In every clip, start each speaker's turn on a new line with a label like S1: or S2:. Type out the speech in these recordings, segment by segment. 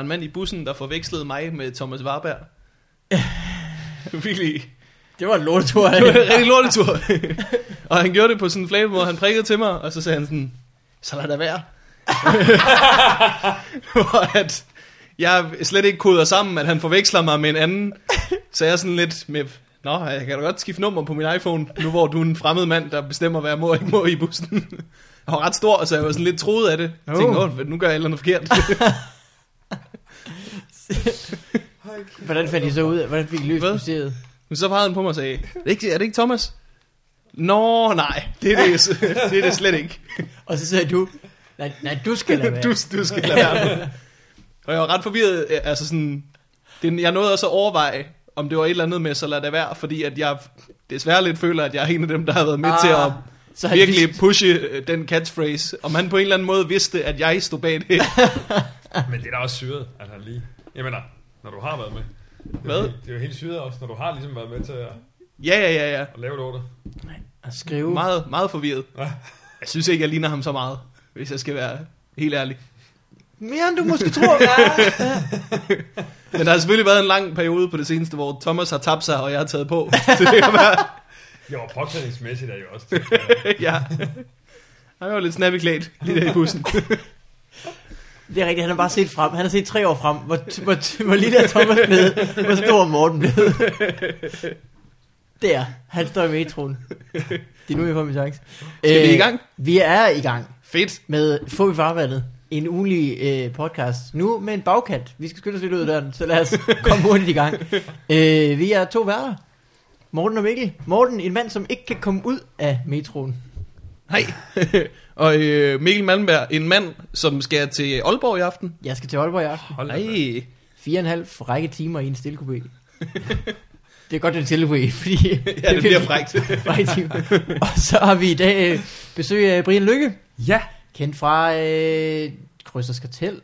S1: en mand i bussen, der forvekslede mig med Thomas Warberg. Virkelig.
S2: Det var en lortetur.
S1: Det var en rigtig lortetur. og han gjorde det på sådan en flame, hvor han prikkede til mig, og så sagde han sådan, så lad det være. hvor at jeg slet ikke koder sammen, at han forveksler mig med en anden. Så jeg er sådan lidt med, nå, jeg kan da godt skifte nummer på min iPhone, nu hvor du er en fremmed mand, der bestemmer, hvad jeg må og ikke må i bussen. Jeg var ret stor, så jeg var sådan lidt troet af det. Jeg tænkte, oh. nu gør jeg et eller andet forkert.
S2: Hvordan fandt I så ud af, hvordan fik I løst
S1: Hvad?
S2: museet?
S1: Men så pegede han på mig og sagde, er det ikke, er det ikke Thomas? Nå, nej, det er det, det, er det slet ikke.
S2: Og så sagde du, nej, nej du skal lade være.
S1: Du, du skal lade være nu. Og jeg var ret forvirret, øh, altså sådan, det, jeg nåede også at overveje, om det var et eller andet med, så lad det være, fordi at jeg desværre lidt føler, at jeg er en af dem, der har været med ah, til at
S2: så han
S1: virkelig
S2: vidste-
S1: pushe øh, den catchphrase. Om han på en eller anden måde vidste, at jeg stod bag det.
S3: Men det er da også syret, at han lige... Jeg mener, når du har været med. Det er
S1: Hvad?
S3: jo helt- Det er jo helt syret også, når du har ligesom været med til at,
S1: Ja, ja, ja, ja.
S3: at lave det over det.
S2: At skrive.
S1: Meget, meget forvirret. Jeg synes ikke, jeg ligner ham så meget, hvis jeg skal være helt ærlig.
S2: Mere end du måske tror. ja.
S1: Men der har selvfølgelig været en lang periode på det seneste, hvor Thomas har tabt sig, og jeg har taget på. Så det kan være,
S3: Jo, og påklædningsmæssigt er det jo også det.
S1: ja. Han var lidt snappy klædt lige der i bussen.
S2: Det er rigtigt, han har bare set frem. Han har set tre år frem, hvor, t- hvor, t- hvor lille er Thomas blevet, hvor stor er Morten blevet. Der, han står i metroen. Det er nu, jeg får min chance. Øh,
S1: Skal vi i gang?
S2: Vi er i gang
S1: Fedt.
S2: med Få i farvandet, en ugenlig øh, podcast. Nu med en bagkant. Vi skal skynde os lidt ud af døren, så lad os komme hurtigt i gang. Øh, vi er to værter. Morten og Mikkel. Morten, en mand, som ikke kan komme ud af metroen.
S1: Hej. og øh, Mikkel Malmberg, en mand, som skal til Aalborg i aften.
S2: Jeg skal til Aalborg i aften.
S3: Hold da op.
S1: Hej.
S2: Fire og en halv frække timer i en stille kubé. Det er godt, det er en stille kubé, fordi...
S1: Ja, det bliver frækt.
S2: frække timer. Og så har vi i dag øh, besøg af Brian Lykke,
S3: Ja.
S2: kendt fra øh, Krydsers Kartel,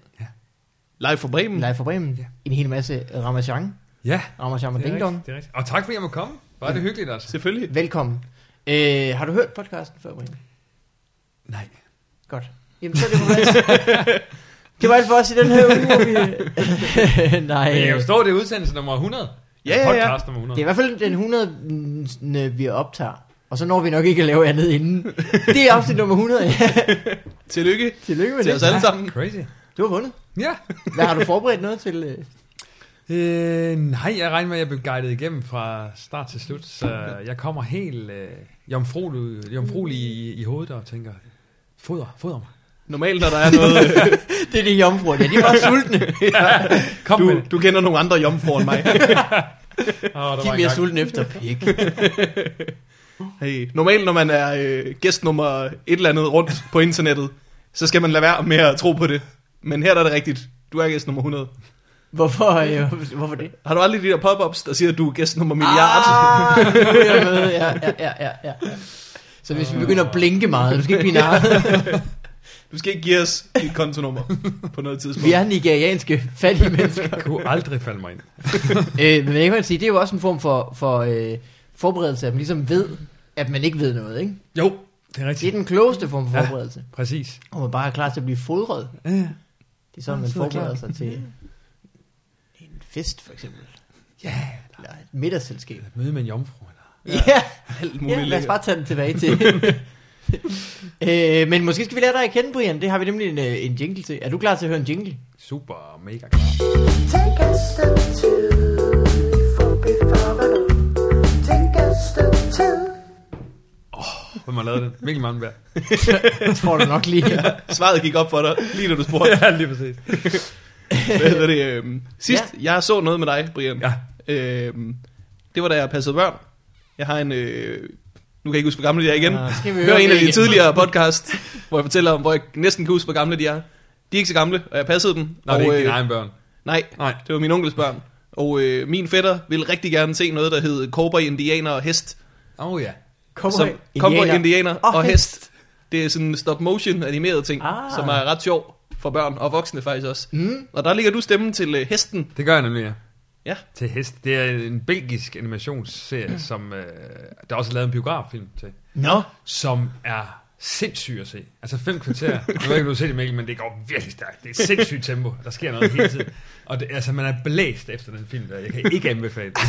S1: Live fra Bremen.
S2: Live fra Bremen, ja. en hel masse Ramachan,
S3: Ja.
S2: Ramachan og
S3: Det er
S2: Ding Dong.
S3: rigtigt, det er rigtigt. Og tak fordi jeg må komme. Var det hyggeligt altså.
S1: Selvfølgelig.
S2: Velkommen. Øh, har du hørt podcasten før, Brian?
S3: Nej.
S2: Godt. Jamen, så er det på plads. Det var alt for os i den her uge, hvor vi... Nej,
S3: Men jeg kan jo
S2: øh,
S3: stå, det er udsendelse nummer 100.
S1: Ja, ja, ja.
S3: Podcast nummer
S2: det er i
S3: 100.
S2: hvert fald den 100, vi optager. Og så når vi nok ikke at lave andet inden. Det er afsnit nummer 100. Ja.
S1: Tillykke
S2: Tillykke med
S1: til
S2: det.
S1: os alle sammen.
S3: Crazy.
S2: Du har vundet.
S3: Ja.
S2: Hvad har du forberedt noget til? øh?
S3: Øh, nej, jeg regner med, at jeg blev guidet igennem fra start til slut, så jeg kommer helt øh, jomfruelig, jomfruelig i, i hovedet og tænker, foder, foder mig.
S1: Normalt, når der er noget... øh,
S2: Det er de jomfruer, ja, de var sultne.
S3: Kom med
S1: Du,
S3: det.
S1: du kender nogle andre jomfruer end mig.
S3: Oh,
S2: De bliver sultne efter pik.
S1: Hey. Normalt, når man er øh, gæst nummer et eller andet rundt på internettet, så skal man lade være med at tro på det. Men her der er det rigtigt. Du er gæst nummer 100.
S2: Hvorfor, øh, hvorfor det?
S1: Har du aldrig de der pop-ups, der siger, at du er gæst nummer milliard?
S2: Ah, nu er jeg med. Ja, ja, ja, ja, ja. Så hvis vi begynder at blinke meget, du skal ikke blive narret.
S1: Du skal ikke give os dit kontonummer på noget tidspunkt.
S2: Vi er nigerianske fattige mennesker.
S3: Jeg kunne aldrig falde mig ind.
S2: Øh, men jeg kan man sige, det er jo også en form for, for øh, forberedelse, at man ligesom ved, at man ikke ved noget. Ikke?
S3: Jo, det er
S2: Det er
S3: rigtigt.
S2: den klogeste form for
S3: Ja.
S2: forberedelse.
S3: Præcis.
S2: Og man bare er klar til at blive fodret. Det er sådan, man
S3: så er det
S2: forbereder
S3: klart.
S2: sig til en fest, for eksempel.
S3: Ja,
S2: Eller et middagsselskab.
S3: yeah. møde med en jomfru. Eller?
S2: Ja, ja,
S1: alt
S2: ja lad os bare tage den tilbage til. øh, men måske skal vi lære dig at kende, Brian. Det har vi nemlig en, øh, en jingle til. Er du klar til at høre en jingle?
S3: Super mega klar.
S4: Take a step two, for before the Take a step two.
S3: Hvem har lavet den? Mikkel Malmberg.
S2: Det tror du nok lige.
S1: Svaret gik op for dig, lige da du spurgte.
S3: ja, lige præcis.
S1: Hvad hedder det? Øhm, sidst, ja. jeg så noget med dig, Brian.
S3: Ja.
S1: Øhm, det var da jeg passede børn. Jeg har en... Øh, nu kan jeg ikke huske, hvor gamle de er igen.
S3: Ah.
S2: Nå, skal vi
S1: Hør
S2: høre
S1: en
S2: det
S1: af de
S2: igen.
S1: tidligere podcast, hvor jeg fortæller om, hvor jeg næsten kan huske, hvor gamle de er. De er ikke så gamle, og jeg passede dem.
S3: Nå,
S1: og,
S3: det er ikke
S1: øh,
S3: dine egne børn.
S1: Nej,
S3: Nej.
S1: det var min onkels børn. Og øh, min fætter ville rigtig gerne se noget, der hed Cowboy, Indianer og Hest.
S3: Åh oh, ja.
S2: Kom,
S1: som Cowboy, Indianer og, og hest. Det er sådan en stop motion animeret ting,
S2: Ah.
S1: ah. som er ret sjov for børn og voksne faktisk også. Mm. Og der ligger du stemmen til øh, hesten.
S3: Det gør jeg nemlig, ja.
S1: Ja.
S3: Til hest. Det er en belgisk animationsserie, som øh, der er også lavet en biograffilm til.
S2: Nå,
S3: Som er sindssyg at se. Altså fem kvarter, jeg ved ikke, om du har set det, Mikkel, men det går virkelig stærkt. Det er et sindssygt tempo. Der sker noget hele tiden. Og det, altså, man er blæst efter den film der. Jeg kan ikke anbefale den.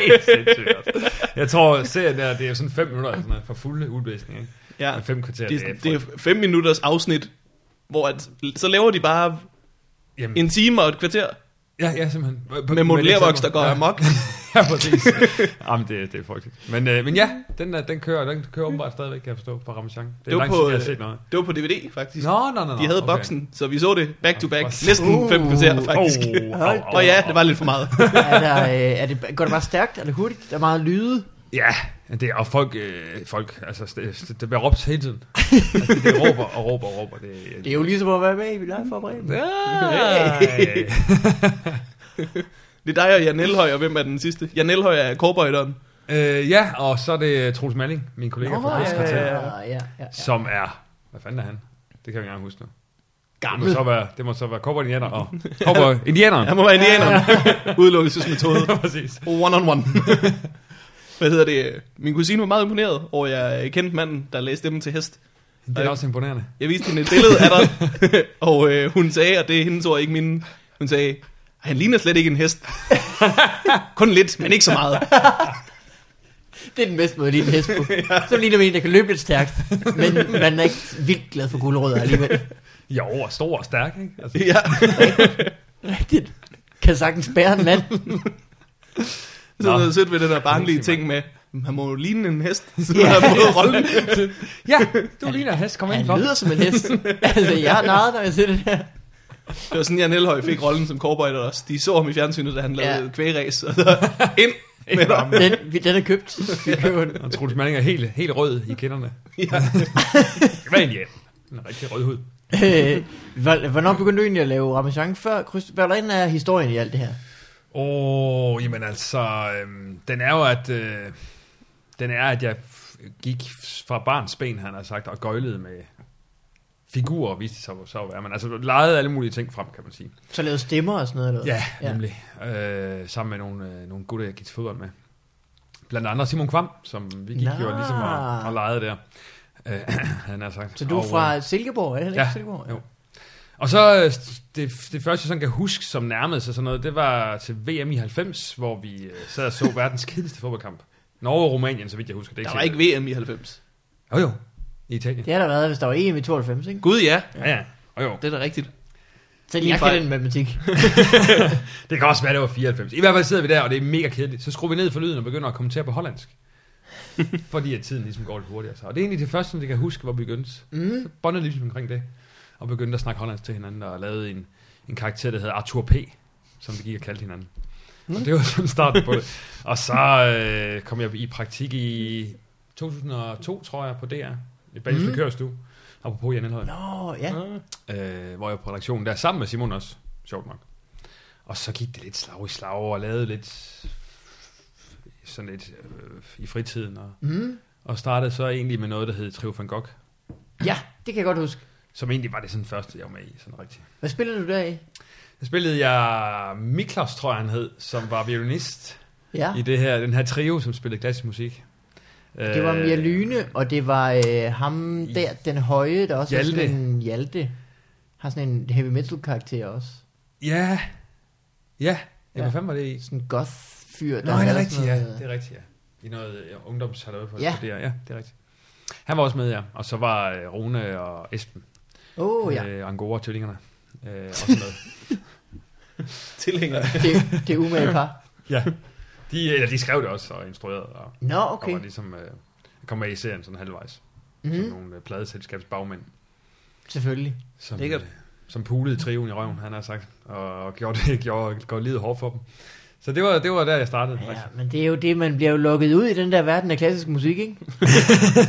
S3: Helt sindssygt. altså. Jeg tror, serien der, det er sådan fem minutter eller sådan noget, for fulde udblæsning. Ikke?
S1: Ja.
S3: Men fem kvarter,
S1: Det,
S3: det, er,
S1: det er fem minutters afsnit, hvor at, så laver de bare
S3: Jamen,
S1: en time og et kvarter
S3: ja, ja, simpelthen. På- på-
S1: med modellervoks,
S3: Alexander.
S1: der går
S3: Ja.
S1: amok.
S3: ja, præcis. Jamen, det, det er frygteligt. Men, øh, men ja, den, der, den kører, den kører åbenbart stadigvæk, kan jeg forstå, på Ramachan. Det er
S1: Det var,
S3: lang tid,
S1: på,
S3: jeg har set noget.
S1: det var på DVD, faktisk.
S3: Nå, nå, nå, nå.
S1: De havde
S3: okay.
S1: boksen, så vi så det back to back.
S3: Nå, for
S1: Næsten fem kvarter, faktisk.
S3: Oh, oh, oh,
S1: Og ja, det var lidt for meget.
S2: er der, øh, er det, går det bare stærkt? Er det hurtigt? Der er meget lyde?
S3: Ja, det er, og folk, øh, folk altså, det, det bliver råbt hele tiden. Altså, det råber og råber og råber. Det,
S2: Det er jo ligesom at være med i live forberedt.
S3: Hey.
S1: Det er dig og Jan Elhøj, og hvem er den sidste? Jan Elhøj er cowboyderen.
S3: øh, ja, og så er det Troels Malling, min kollega
S2: Nå,
S3: fra Rigs
S2: ja,
S3: Kvarter,
S2: ja, ja, ja.
S3: som er, hvad fanden er han? Det kan jeg ikke engang huske nu. Det må
S2: Gammel.
S3: så være, det må så være Cowboy Indianer og Cowboy Indianeren.
S1: Han må være indianeren. Udelukkelsesmetode.
S3: Ja, præcis.
S1: One on one. Hvad hedder det? Min kusine var meget imponeret over, at jeg kendte manden, der læste dem til hest.
S3: Det er da også imponerende.
S1: Jeg viste hende et billede af dig, og øh, hun sagde, og det er hendes ord, ikke mine, hun sagde, han ligner slet ikke en hest. Kun lidt, men ikke så meget.
S2: Det er den bedste måde at lide en hest på. Så ligner man en, der kan løbe lidt stærkt. Men man er ikke vildt glad for gulerødder alligevel.
S3: Jo, og stor og stærk, ikke? Altså,
S1: Ja.
S2: Rigtigt. Kan sagtens bære en mand.
S1: Så
S3: Nå.
S1: er det sødt ved den der barnlige ting med, han må jo ligne en hest, så du har fået rollen.
S3: ja, du ligner hest, kom
S2: Han
S3: ind for.
S2: lyder som en hest. Altså, jeg har narret, når jeg ser det der.
S1: Det var sådan, Jan Elhøj fik rollen som cowboy der også. De så ham i fjernsynet, da han lavede
S2: Ja.
S1: ja. kvægeræs, og så ind med ham.
S2: Den, vi- den er købt. Vi køber den.
S3: Og Troels Malling er helt, helt rød i kinderne.
S1: Ja.
S3: Det var indianer. Den er rigtig rød hud.
S2: Øh, hvor- Hvornår begyndte du egentlig at lave ramachan før? Christ- Hvad er historien i alt det her?
S3: Åh, oh, jamen altså, øhm, den er jo, at, øh, den er, at jeg f- gik fra barns ben, han har sagt, og gøjlede med figurer, viste det sig hvor så at være. Men altså, legede alle mulige ting frem, kan man sige.
S2: Så lavede stemmer og sådan noget? Eller? hvad?
S3: Ja, nemlig. Øh, sammen med nogle, øh, nogle gutter, jeg gik til fodbold med. Blandt andet Simon Kvam, som vi gik
S2: Nå.
S3: jo ligesom og, og legede der. Øh, han har sagt.
S2: Så du er
S3: Og, øh,
S2: fra Silkeborg, er det ikke
S3: Ja,
S2: Silkeborg?
S3: jo. Og så øh, det, det første, jeg sådan kan huske, som nærmede sig sådan noget, det var til VM i 90, hvor vi øh, sad og så verdens kedeligste fodboldkamp. Norge og Rumænien, så vidt jeg husker. Det er
S1: Der var ikke
S3: sikkert.
S1: VM i 90.
S3: Jo jo, i Italien.
S2: Det har der været, hvis der var EM i 92, ikke?
S1: Gud ja,
S3: Ja, ja. Og jo,
S1: det er da rigtigt.
S2: Selv
S1: Min
S2: jeg
S1: fejl.
S2: kan den matematik.
S3: det kan også være, det var 94. I hvert fald sidder vi der, og det er mega kedeligt. Så skruer vi ned for lyden og begynder at kommentere på hollandsk. fordi at tiden ligesom går lidt hurtigere. Så. Og det er egentlig det første, som jeg kan huske, hvor vi begyndte.
S2: Mm.
S3: Så båndede ligesom omkring det. Og begyndte at snakke hollandsk til hinanden, og lavede en, en karakter, der hedder Arthur P., som vi gik og kaldte hinanden. Og det var sådan starten på det. Og så øh, kom jeg i praktik i 2002, tror jeg, på DR. I Bagels mm. Kørestue. Apropos Jan Elhøj.
S2: Nå, ja.
S1: Ah,
S3: Øh, hvor jeg var på redaktionen der, sammen med Simon også. Sjovt nok. Og så gik det lidt slag i slag, og lavede lidt sådan lidt øh, i fritiden. Og,
S2: Mm.
S3: og startede så egentlig med noget, der hed Trio van Gogh.
S2: Ja, det kan jeg godt huske. Som
S3: Egentlig var det sådan første, jeg var med i, sådan rigtigt.
S2: Hvad spiller du der i?
S3: Så spillede jeg Miklas, tror jeg han hed, som var violinist
S2: Ja,
S3: ja. i det her, den her trio, som spillede klassisk musik. Øh,
S2: det var Mia Lyne, og det var øh, ham der, den høje, der også
S3: Hjalte.
S2: er sådan en Hjalte. Har sådan en heavy metal karakter også.
S3: Ja, ja.
S2: Ja.
S3: ja. Hvad fanden var det i?
S2: Sådan en goth fyr.
S3: Nå, det
S2: havde
S3: er rigtigt, ja.
S2: sådan
S3: Det er rigtigt, ja. I noget ja, ungdomshalløj på
S2: Ja.
S3: ja. der. Ja, det er rigtigt. Han var også med, ja. Og så var øh, Rune og Esben.
S2: Åh, oh, ja.
S3: Øh, Angora-tvillingerne. Øh, også med.
S1: Tilhænger.
S3: Øh.
S2: Det, det er umage par.
S3: ja. De, eller de skrev det også og instruerede. Og,
S2: Nå,
S3: okay. og
S2: okay.
S3: var ligesom, øh, kom med i serien sådan halvvejs. Mm. Som
S2: Mm,
S3: nogle øh, pladeselskabsbagmænd.
S2: selvfølgelig.
S3: Som,
S1: Lækkert.
S3: øh, som pulede triven i røven, han har sagt. Og, og gjorde, det, gjorde, gjorde livet hårdt for dem. Så det var, det var der, jeg startede.
S2: Ja, men det er jo det, man bliver jo lukket ud i den der verden af klassisk musik, ikke?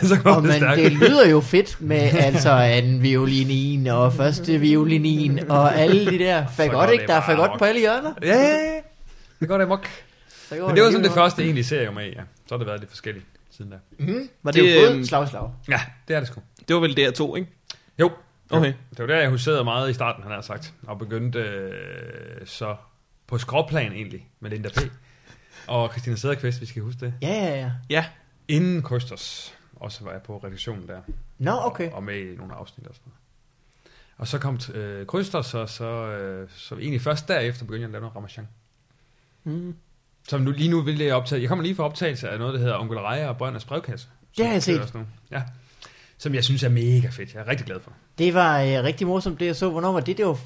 S3: så
S2: Og
S3: kom det
S2: man,
S3: stærkt.
S2: det lyder jo fedt med altså anden violinin og første violinin og alle de der
S3: går
S2: fagot,
S3: det
S2: ikke? Der er
S3: bare
S2: fagot
S3: amok.
S2: på alle hjørner.
S3: Ja, ja, ja. Det går da mok.
S2: Så går
S3: Men det var sådan
S2: hele
S3: det
S2: vejen.
S3: første egentlig serie, jeg var med i, ja. Så har det været lidt forskelligt siden da.
S2: Mhm.
S1: Var
S2: Det er jo
S1: øhm,
S2: både slag i slag.
S3: Ja, det er det sgu.
S1: det var vel DR2, ikke?
S3: Jo.
S1: Okay.
S3: Det var der, jeg huserede meget i starten, han har sagt. Og begyndte øh, så på skråplan egentlig med Linda P. Og Christina Sederqvist, vi skal huske det.
S2: Ja, ja, ja.
S1: Ja,
S3: Inden Kosters. Og så var jeg på redaktionen der.
S2: Nå, okay.
S3: og med i nogle afsnit og sådan noget. Og så kom øh, Krysters, så, så, øh, så egentlig først derefter begyndte jeg at lave noget Ramachan.
S2: Mm.
S3: Som nu, lige nu vil jeg optage. Jeg kommer lige fra optagelse af noget, der hedder Onkel Rejer og Brønders brevkasse.
S2: Det har jeg
S3: Som
S2: set.
S3: også nu. Ja. Som jeg synes er mega fedt. Jeg er rigtig glad for.
S2: Det var øh, rigtig morsomt, det jeg så. Hvornår var det, det var f-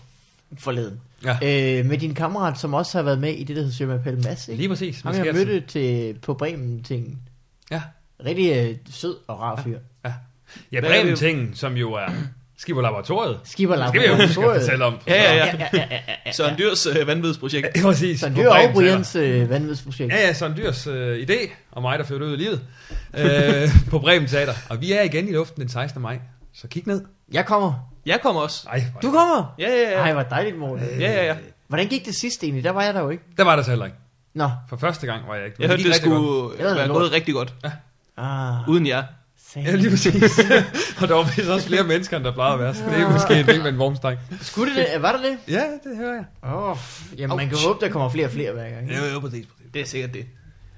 S2: forleden?
S3: Ja.
S2: Øh, med din kammerat, som også har været med i det, der hedder Søren Appel Mads, ikke?
S3: Lige præcis.
S2: Ham,
S3: Mads
S2: jeg
S3: Gertsen.
S2: mødte til, på Bremen-tingen.
S3: Ja.
S2: Rigtig øh, sød og rar fyr.
S3: Ja,
S1: Hvad er det-
S3: Bremen ting, som jo er Skipper Laboratoriet.
S2: Skipper
S3: Det skal vi jo huske at
S2: Laboratoriet.
S3: fortælle om.
S1: Ja, ja, ja.
S2: ja, ja, ja, ja, ja.
S1: Søren Dyrs øh, vanvidsprojekt.
S3: Ja, præcis.
S2: Søren
S3: På
S2: Dyr og
S3: Bremen Teater.
S2: Brians øh, vanvidsprojekt.
S3: Ja, ja, Søren Dyrs øh, idé, og mig, der førte ud i livet, øh, på Bremen Teater. Og vi er igen i luften den 16. maj, så kig ned.
S2: Jeg kommer.
S1: Jeg kommer også.
S3: Ej, hvor-
S2: Du kommer?
S1: Ja, ja,
S2: Nej,
S1: ja.
S2: hvor dejligt, Morten.
S3: Øh.
S1: Ja, ja, ja.
S2: Hvordan gik det sidste egentlig? Der var jeg der jo ikke.
S3: Der var der så heller ikke.
S2: Nå.
S3: For første gang var jeg ikke.
S1: Jeg hørte,
S3: gik
S1: det
S3: rigtig
S1: skulle
S3: godt.
S2: Jeg ved,
S1: være
S2: lort.
S1: noget rigtig godt.
S2: Ah,
S1: Uden jer.
S2: satan.
S3: Ja, lige præcis. og der var vist også flere mennesker, end der plejede at være, så det er måske en del med en vognstang.
S2: Skulle det det? Var det det?
S3: Ja, det hører jeg.
S2: Åh, oh, jamen man kan håbe, der kommer flere og flere hver gang.
S3: Ja, jo, præcis, præcis.
S1: Det er sikkert det.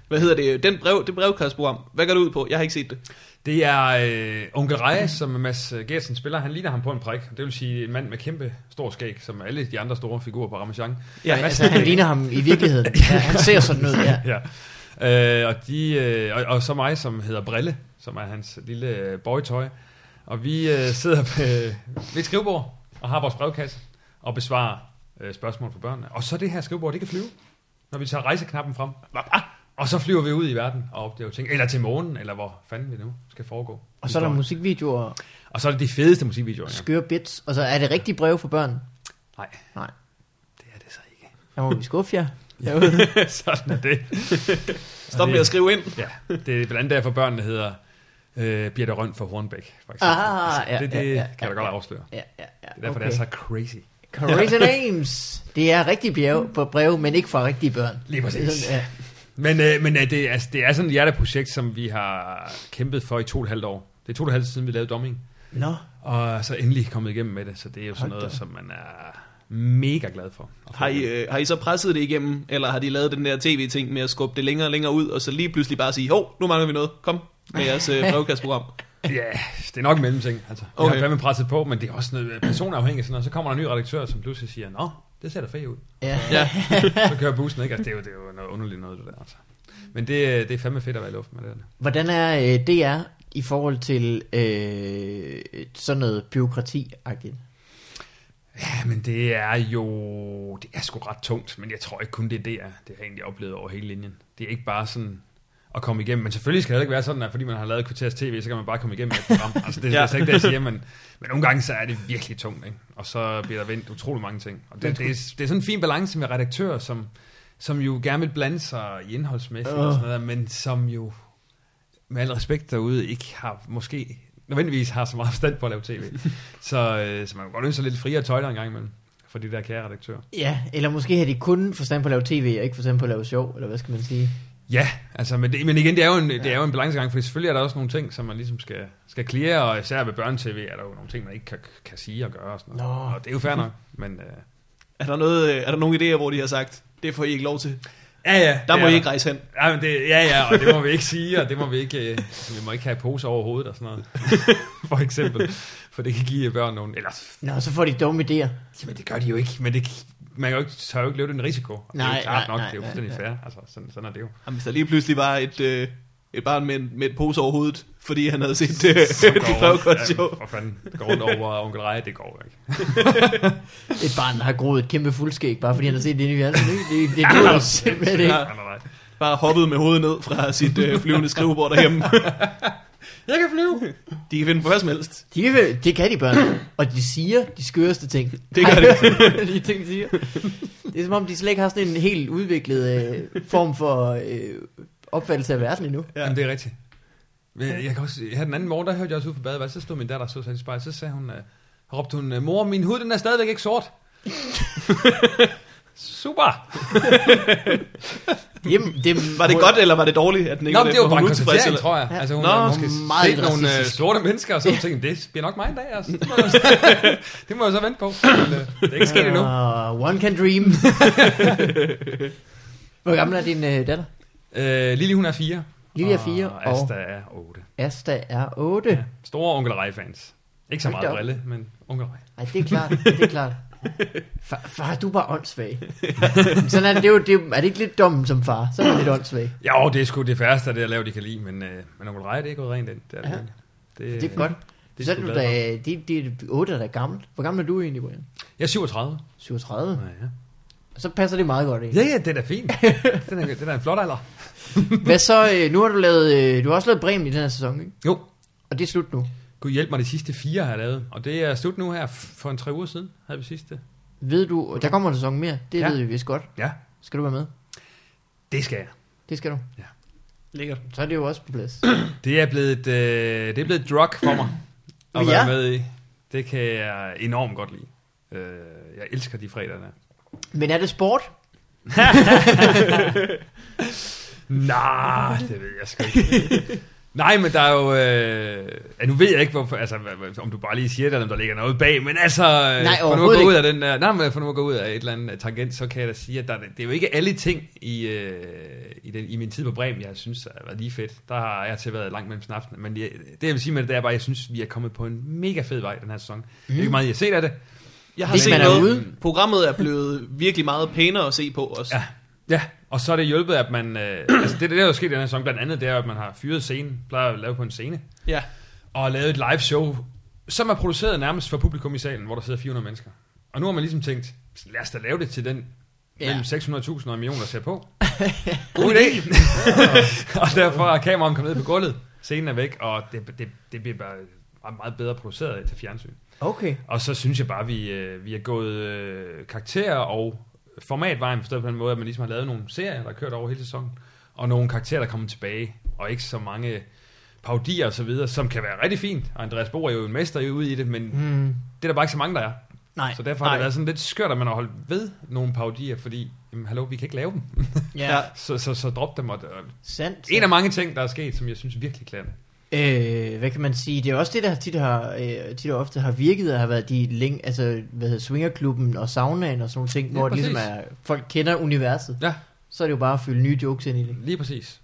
S1: Hvad hedder det? Den brev, det brevkastprogram. Hvad går det ud på? Jeg har ikke set det.
S3: Det er øh, onkel Reje, som Mads øh, Gertsen spiller. Han ligner ham på en prik. Det vil sige en mand med kæmpe stor skæg, som alle de andre store figurer på Ramachan.
S1: Ja,
S2: Altså, han ligner ham i virkeligheden. Ja, han ser sådan ud, ja.
S3: ja. Øh, og, de, øh, og, og så mig, som hedder Brille, som er hans lille øh, boytøj. Og vi øh, sidder ved, ved et skrivebord og har vores brevkasse og besvarer øh, spørgsmål fra børnene. Og så det her skrivebord, det kan flyve, når vi tager rejseknappen frem. Og så flyver vi ud i verden og opdager ting. Eller til månen, eller hvor fanden vi nu skal foregå.
S2: Og så er der musikvideoer,
S3: og så er det de fedeste musikvideoer. Ja.
S2: skøre bits, og så er det rigtige brev for børn.
S3: Nej,
S2: Nej,
S3: det er det så ikke.
S2: der må vi skuffe jer.
S3: Sådan er det.
S1: Stop med at skrive ind.
S3: Ja, det er blandt andet derfor børnene hedder øh, Birte Røn for Hornbæk, for eksempel.
S2: Ah,
S3: Altså,
S2: ja,
S3: det,
S2: ja,
S3: det
S2: ja, ja,
S3: kan jeg da
S2: ja.
S3: godt afsløre. Det
S2: Ja, ja, ja.
S3: er derfor, okay. det er så crazy.
S2: Crazy names! Det er rigtige brev, på brev, men ikke fra rigtige børn.
S3: Lige præcis.
S2: Det er sådan, ja.
S3: Men, øh, men øh, det, er, det er sådan et hjerteprojekt, som vi har kæmpet for i to og et halvt år. Det er to og et halvt siden, vi lavede Domming,
S2: Nå,
S3: og så endelig kommet igennem med det. Så det er jo sådan
S2: Hold
S3: noget,
S2: da.
S3: som man er mega glad for. at få
S1: Har I,
S3: igennem.
S1: øh, har I så presset det igennem, eller har de lavet den der tv-ting med at skubbe det længere og længere ud, og så lige pludselig bare sige, hov, nu mangler vi noget, kom med jeres øh, brevkastprogram.
S3: Ja, yeah, det er nok en mellemting. Altså, okay.
S1: Okay.
S3: Jeg har fandme presset på, men det er også noget øh, personafhængigt. Sådan noget. Så kommer der en ny redaktør, som pludselig siger, Nå, det ser da fedt ud.
S2: ja.
S1: Ja,
S3: Så kører bussen, ikke? Altså, det, er jo, det er jo noget underligt noget, det der. Altså. Men det, det er fandme fedt at være i luften med det der.
S2: Hvordan er øh, DR i forhold til øh, sådan noget byråkrati-agtigt?
S3: Ja, men det er jo... Det er sgu ret tungt, men jeg tror ikke kun det er det, er. Det har jeg egentlig oplevet over hele linjen. Det er ikke bare sådan at komme igennem. Men selvfølgelig skal det heller ikke være sådan, at fordi man har lavet Kvarters TV, så kan man bare komme igennem med et program. Altså, det er
S1: Ja.
S3: ja. slet ikke det, jeg siger, men, men nogle gange så er det virkelig tungt, ikke? Og så bliver der vendt utrolig mange ting. Og det, det, er, det er sådan en fin balance med redaktører, som, som jo gerne vil blande sig i indholdsmæssigt
S2: Øh.
S3: og sådan noget, der, men som jo med al respekt derude, ikke har måske nødvendigvis har så meget forstand på at lave tv. så, øh, så man kan godt ønske sig lidt friere tøjler en gang imellem for de der kære redaktører.
S2: Ja, eller måske har de kun forstand på at lave tv, og ikke forstand på at lave sjov, eller hvad skal man sige?
S3: Ja, altså, men, det, men igen, det er, jo en, det er jo en balancegang, for selvfølgelig er der også nogle ting, som man ligesom skal, skal clear, og især ved børnetv er der jo nogle ting, man ikke kan, kan sige og gøre og sådan noget.
S2: Nå.
S3: Og det er jo fair nok, men... Øh,
S1: er der, noget, øh, er der nogle idéer, hvor de har sagt, det får I ikke lov til,
S3: ja, ja.
S1: der
S3: det
S1: må
S3: er
S1: I ikke rejse hen.
S3: Ja, men det, ja, ja, og det må vi ikke sige, og det må vi ikke, øh, vi må ikke have poser over hovedet og sådan noget, for eksempel, for det kan give børn nogle, eller
S2: Nå, så får de dumme idéer.
S3: Jamen det gør de jo ikke, men det, man kan jo ikke, tør jo ikke løbe den risiko. Og det er
S2: Nej,
S3: jo klart
S2: nej,
S3: nok,
S2: nej,
S3: det er jo
S2: nej,
S3: fuldstændig fair. Altså, sådan, sådan er det jo.
S1: Jamen, hvis der lige pludselig var et, øh, et barn med, en, med et pose over hovedet, fordi han havde set øh, det brevkastshow.
S3: for fanden, går rundt over onkel Reje, det går jo ikke.
S2: Et barn, der har groet et kæmpe fuldskæg, bare fordi han har set det inde i fjernsynet. ikke? Det, det, det duer jo simpelthen ikke.
S1: Ja.
S3: Nej, nej, nej.
S1: Bare hoppede med hovedet ned fra sit øh, flyvende skrivebord derhjemme.
S3: Jeg kan flyve!
S1: De kan finde på hvad som helst.
S2: De, kan vel- det kan de børn, og de siger de skøreste ting.
S1: Det gør
S2: de. de ting, de siger. Det er som om, de slet ikke har sådan en helt udviklet øh, form for øh, opfattelse af verden endnu.
S1: Ja.
S3: Ja. Jamen, det er rigtigt. Men Jeg, jeg kan også, her den anden morgen, der hørte jeg også ud fra badeværelset, så stod min datter og så sig i spejlet, så sagde hun, øh, råbte hun, øh, mor, min hud, den er stadigvæk ikke sort. Super!
S2: Jamen, det,
S1: Var det godt, eller var det dårligt, at den ikke
S3: Nå, men det var
S1: var
S3: bare en
S1: utilfreds,
S3: konstatering,
S1: eller?
S3: tror jeg. Altså, hun
S1: Nå,
S3: Nå, har måske
S2: meget
S3: set nogle øh,
S2: racistisk.
S3: sorte mennesker, og så yeah. tænkte, det bliver nok mig en dag. Altså. Det, må jeg, så- det må jeg så vente på. Men, øh, det er ikke sket endnu.
S2: Uh, one can dream. Hvor gammel er din øh, datter?
S3: Øh, Lili, hun er fire,
S2: Lili er 4, og
S3: Asta
S2: Asta,
S3: er 8.
S2: Asta er 8.
S3: Ja. Store Onkel Rej-fans. Ikke så
S2: Hold
S3: meget
S2: da op.
S3: brille, men Onkel Rej.
S2: Nej, det er klart, det er klart. Far, far du er bare åndssvag. Sådan er det, det, er jo, det er, jo- er det ikke lidt dum som far? Så er det lidt åndssvag.
S3: Jo, det er sgu det færreste af det, jeg laver, de kan lide, men, øh, men Onkel Rej, det er gået rent ind. Det øh, er, det,
S2: Ja.
S3: virkelig.
S2: Det er godt.
S3: Det er
S2: så er
S3: sgu
S2: du
S3: glad
S2: da, det, det er 8 er da gammelt. Hvor gammel er du egentlig, Brian?
S3: Jeg er 37.
S2: 37.
S3: Ja, ja.
S2: Så passer det meget godt ind.
S3: ja, ja, det er da fint. Den er, den er en flot alder.
S2: Hvad så, øh, nu har du lavet, øh, du har også lavet Bremen i den her sæson, ikke?
S3: Jo,
S2: Og det er slut nu.
S3: Gud hjælp mig, de sidste fire har jeg lavet. Og det er slut nu her f- for en tre uger siden, havde vi sidste.
S2: Ved du, der kommer en sæson mere, det
S3: Ja.
S2: ja. ved vi vist godt.
S3: Ja,
S2: Skal du være med?
S3: det skal jeg.
S2: Det skal du.
S1: Lækkert.
S2: Så er det jo også på plads.
S3: Det er blevet, et, øh, det er blevet et drug for mig at
S2: Ja.
S3: være med i. Det kan jeg enormt godt lide. Øh, jeg elsker de fredager der.
S2: Men er det sport?
S3: Nej, det ved jeg sgu ikke. Nej, men der er jo... Øh, ja, nu ved jeg ikke, hvorfor, altså, hvad- hvad- om du bare lige siger det, eller om der ligger noget bag, men altså...
S2: Nej,
S3: øh, for nu at
S2: overhovedet
S3: gå ud
S2: ikke.
S3: af den der, nej, men for nu at gå ud af et eller andet øh, tangent, så kan jeg da sige, at der, det er jo ikke alle ting i, øh, i, den, i min tid på Bremen, jeg synes har været lige fedt. Der har jeg til været langt mellem snapsen. Men jeg, det, jeg vil sige med det, det er bare, at jeg synes, vi er kommet på en mega fed vej den her sæson. Mm. Det er ikke meget, jeg har set af det.
S1: Jeg har
S2: Hvis
S1: set
S2: man er
S1: noget.
S2: ude.
S1: Programmet er blevet virkelig meget pænere at se på også.
S3: Ja. Ja, og så er det hjulpet, at man... Øh, altså det, der er jo sket i den her sæson, blandt andet, det er, at man har fyret scenen, plejer at lave på en scene,
S1: ja.
S3: og lavet et live show, som er produceret nærmest for publikum i salen, hvor der sidder 400 mennesker. Og nu har man ligesom tænkt, lad os da lave det til den
S2: Ja.
S3: mellem 600.000 og en million, der ser på. God idé! og derfor er kameraet kommet ned på gulvet, scenen er væk, og det, det, det bliver bare meget- meget bedre produceret til fjernsyn.
S2: Okay.
S3: Og så synes jeg bare, at vi, øh, vi er gået øh, karakterer og formatvejen forstået på den måde, at man ligesom har lavet nogle serier, der er kørt over hele sæsonen, og nogle karakterer, der kommer tilbage, og ikke så mange paudier og så videre, som kan være rigtig fint. Og Andreas Bo er jo en mester i- ude i det, men mm. det er der bare ikke så mange, der er.
S2: Hmm. Nej.
S3: så derfor har det
S1: nej.
S3: været sådan lidt skørt, at man har holdt ved nogle paudier, fordi, jamen, hallo, vi kan ikke lave dem.
S2: Ja.
S1: Ja.
S2: ja.
S3: så, så, så drop dem. Og, og
S2: Sandt.
S3: en af mange ting, der er sket, som jeg synes virkelig klæder det.
S2: Øh, hvad kan man sige? Det er også det, der tit, har, øh, tit og ofte har virket, og har været de link, altså, hvad hedder, swingerklubben og saunaen og sådan nogle ting,
S3: Ja,
S2: ja, hvor det ligesom
S3: præcis.
S2: er, folk kender universet.
S3: Ja.
S2: Så er det jo bare at fylde nye jokes ind i det.
S3: Lige præcis.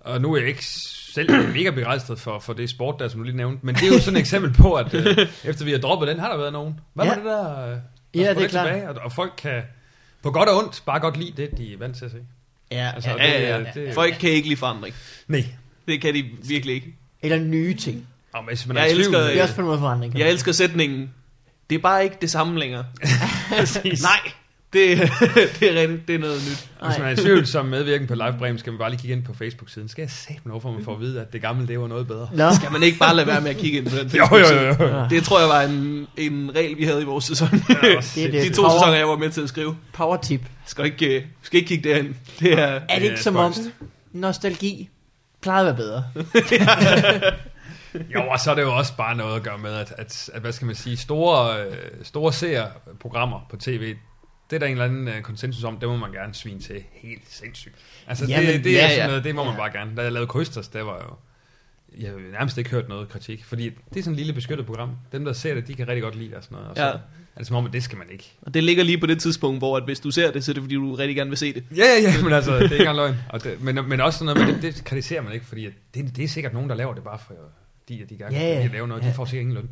S3: Og nu er jeg ikke selv mega begejstret for, for det sport der, som du lige nævnte, men det er jo sådan et eksempel på, at øh, efter vi har droppet den, har der været nogen. Hvad ja. var
S2: Ja.
S3: det der? Øh, lad os
S2: Ja,
S3: få
S2: det er klart.
S3: Tilbage, og, og folk kan på godt og ondt bare godt lide det, de er vant til at se.
S2: Ja,
S3: Altså,
S1: Ja, ja, ja.
S3: Det, det,
S1: Folk kan ikke lide forandring.
S3: Nej.
S1: Det kan de virkelig ikke.
S2: Eller nye ting.
S3: Og hvis man
S1: Jeg
S3: er i tvivl, øh,
S1: elsker-
S2: Det er også på en måde forandring. kan
S1: Jeg
S2: man
S1: elsker sætningen. Det er bare ikke det samme længere.
S3: præcis.
S1: Nej, det, det er rigtigt. Det er noget nyt.
S2: sige.
S3: Hvis man er
S2: Nej.
S3: i tvivl som medvirken på Live Bremen, skal man bare lige kigge ind på Facebook-siden. Skal jeg sætte mig for, man får at vide, at det gamle, det var noget bedre?
S2: Nå.
S1: Kan man ikke bare lade være med at kigge ind på den
S3: Jo, jo, jo. jo.
S2: Ja.
S1: Det tror jeg var en, en regel, vi havde i vores sæson.
S2: Det er
S1: De
S2: det.
S1: to
S2: Power-
S1: sæsoner, jeg var med til at skrive.
S2: Power tip.
S1: Skal ikke, øh, skal ikke kigge derind. Det er...
S2: Er det
S3: Ja,
S2: ikke som om
S3: spøjst.
S2: nostalgi plejede at være bedre?
S3: Jo, og så er det jo også bare noget at gøre med, at, at, at hvad skal man sige, store, øh, store seerprogrammer på tv, det er der en eller anden øh, konsensus om, det må man gerne svine til helt sindssygt. Altså, det,
S2: Jamen,
S3: det, er
S1: ja,
S3: sådan
S1: ja.
S3: noget, det må man
S2: Ja.
S3: bare gerne. Da jeg lavede Krysters, der var jo... Jeg har jo nærmest ikke hørt noget kritik, fordi det er sådan et lille beskyttet program. Dem, der ser det, de kan rigtig godt lide det og sådan noget. Og så
S1: Ja.
S3: er det som om, at det skal man ikke.
S1: Og det ligger lige på det tidspunkt, hvor at hvis du ser det, så er det fordi, du rigtig gerne vil se det.
S3: Ja, ja, ja, men altså, det er ikke engang løgn. Og det, men, men også sådan noget, men det, det kritiserer man ikke, fordi at det, det er sikkert nogen, der laver det bare for de, at de gerne
S2: Ja,
S3: yeah,
S2: ja.
S3: vil lave noget. De
S2: Ja.
S3: får sikkert ingen løn.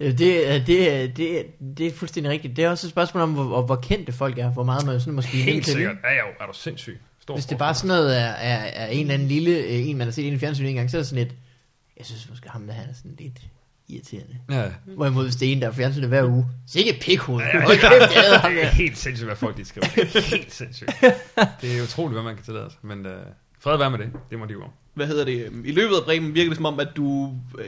S2: Øh, Det, er- det, er- det, er- det er fuldstændig rigtigt. Det er også et spørgsmål om, hvor, hvor kendte folk er, hvor meget man sådan måske
S3: Helt sikkert. Ja, ja, er du sindssyg. Stor
S2: Hvis det
S3: forskel.
S2: bare sådan noget er, er, er en eller anden lille, øh, en man har set ind i fjernsynet en gang, så er det sådan lidt, jeg synes måske ham der han er sådan lidt irriterende.
S3: Ja.
S2: Hvorimod hvis det er en, der er fjernsynet hver uge, så ikke pikhoved. Hold kæft, jeg hader ham
S3: Det er
S2: der.
S3: helt sindssygt, hvad folk de skriver. Det er helt sindssygt. Det er utroligt, hvad man kan tillade sig. Men øh, fred være med det. Det må de jo om.
S1: Hvad hedder det? øhm, I løbet af Bremen virker det som om, at du øh,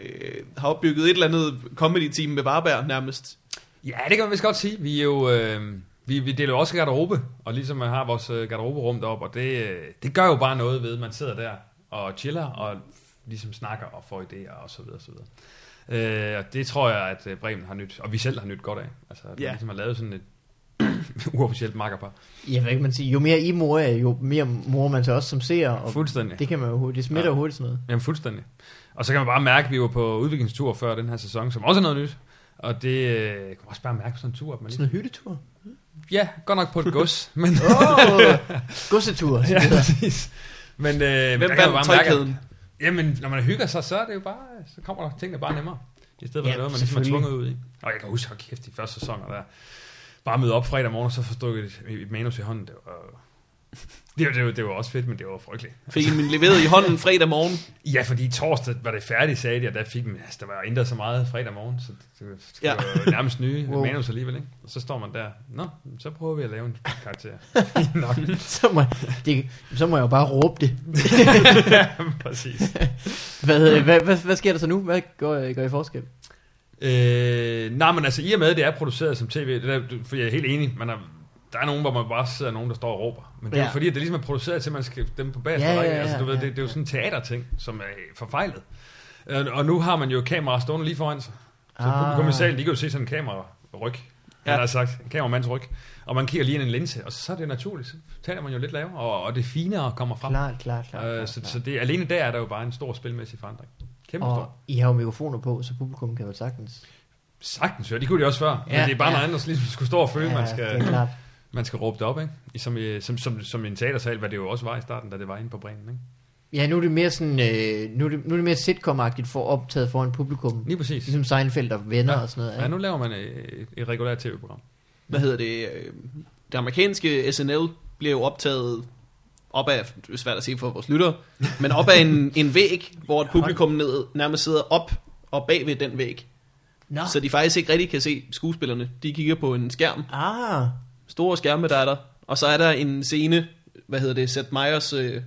S1: har opbygget et eller andet comedy-team med Varberg nærmest.
S3: Ja, det kan man vist godt sige. Vi er jo... Øh, vi, vi deler jo også garderobe, og ligesom øh, har vores øh, garderoberum deroppe, og det, øh, det gør jo bare noget ved, man sidder der og chiller, og ligesom snakker og får idéer og så videre, og så videre. Øh, og det tror jeg, at øh, Bremen har nyt, og vi selv har nyt godt af. Altså, at ja.
S1: Ja.
S3: man ligesom har lavet sådan et uofficielt makkerpar.
S2: Ja, hvad kan man sige? Jo mere I mor er, jo mere mor man til os som ser. Og
S3: Fuldstændig.
S2: det kan man jo hurtigt. Det smitter jo
S3: Ja.
S2: hurtigt sådan noget.
S3: Jamen fuldstændig. Og så kan man bare mærke, at vi var på udviklingstur før den her sæson, som også er noget nyt. Og det øh, kan man også bare mærke på sådan en tur. At man
S2: Sådan
S3: lige...
S2: en hyttetur.
S3: Ja, godt nok på et gods, men...
S2: Åh, oh, godsetur.
S3: ja, præcis. Men, øh, men
S1: Hvem
S3: der kan
S1: vandt
S3: man bare mærke, at-
S1: tøjkæden?
S3: Jamen, når man hygger sig, så, er det jo bare, så kommer der tingene bare nemmere. I stedet for
S2: Ja,
S3: ja, noget, man ligesom er
S2: selvfølgelig.
S3: tvunget ud i. Og jeg kan huske, hold kæft, de første sæsoner der. Bare møde op fredag morgen, og så forstod jeg et, et manus i hånden. Det var, det, var- det, var, det var også fedt, men det var frygteligt.
S1: Fik en leveret i hånden fredag morgen.
S3: Ja, fordi torsdag var det færdigt, sagde de, og der fik man, altså, der var ændret så meget fredag morgen, så det, det
S1: Ja.
S3: ja. var jo nærmest nye
S2: Wow.
S3: wow. manus alligevel, ikke? Og så står man der, nå, så prøver vi at lave en karakter. Nok,
S2: så, må, det, så må jeg jo bare råbe det.
S3: præcis.
S2: Hvad, hvad, hvad, hvad sker der så nu? Hvad gør, gør I forskel?
S3: Øh, nej, men altså i og med, at det er produceret som tv, det der, for jeg er helt enig, man har, der er nogen, hvor man bare sidder nogen, der står og råber. Men det er
S2: Ja.
S3: jo fordi, at det ligesom er produceret til, at man skal dem på bagerste
S2: Ja, ja,
S3: række.
S2: ja,
S3: altså, du ved,
S2: ja,
S3: det, det, er jo
S2: ja.
S3: sådan en teaterting, som er forfejlet. Øh, Og nu har man jo kameraer stående lige foran sig. Så ah. publikum i salen, de kan jo se sådan en kameraryg. Ja.
S1: Ja.
S3: Han har sagt, en kameramands ryg. Og man kigger lige ind i en linse, og så er det naturligt. Så taler man jo lidt lavere, og, og det finere kommer frem.
S2: Klart, klart, klart.
S3: øh,
S2: klart,
S3: så,
S2: klart.
S3: så det, alene der er der jo bare en stor spilmæssig forandring. Kæmpe stor.
S2: Og I har jo mikrofoner på, så publikum kan jo sagtens.
S3: Sagtens, ja. Det kunne de også før. Ja,
S2: Ja,
S3: men det er bare
S2: ja.
S3: ja. noget andet, der ligesom skulle stå og føle, ja, man,
S2: det er
S3: skal,
S2: klart.
S3: man skal råbe det op, ikke? I- Som, i- som, som, som i en teatersal, hvad det jo også var i starten, da det var inde på Bremen, ikke?
S2: Ja, nu er det mere sådan, øh, nu, er det, nu er det mere sitcom-agtigt for optaget foran publikum.
S3: Lige præcis.
S2: Ligesom Seinfeld og venner ja. og sådan noget.
S3: Ja, nu laver man et, et regulært tv-program.
S1: Hvad hedder det? øh, Det amerikanske SNL bliver jo optaget op af, det er svært at sige for vores lyttere, men op af en, en væg, hvor et publikum ned, nærmest sidder op og bag ved den væg.
S2: Nå.
S1: Så de faktisk ikke rigtig kan se skuespillerne. De kigger på en skærm,
S2: Ah,
S1: store skærme, der er der. Og så er der en scene, hvad hedder det, Seth Meyers, øh,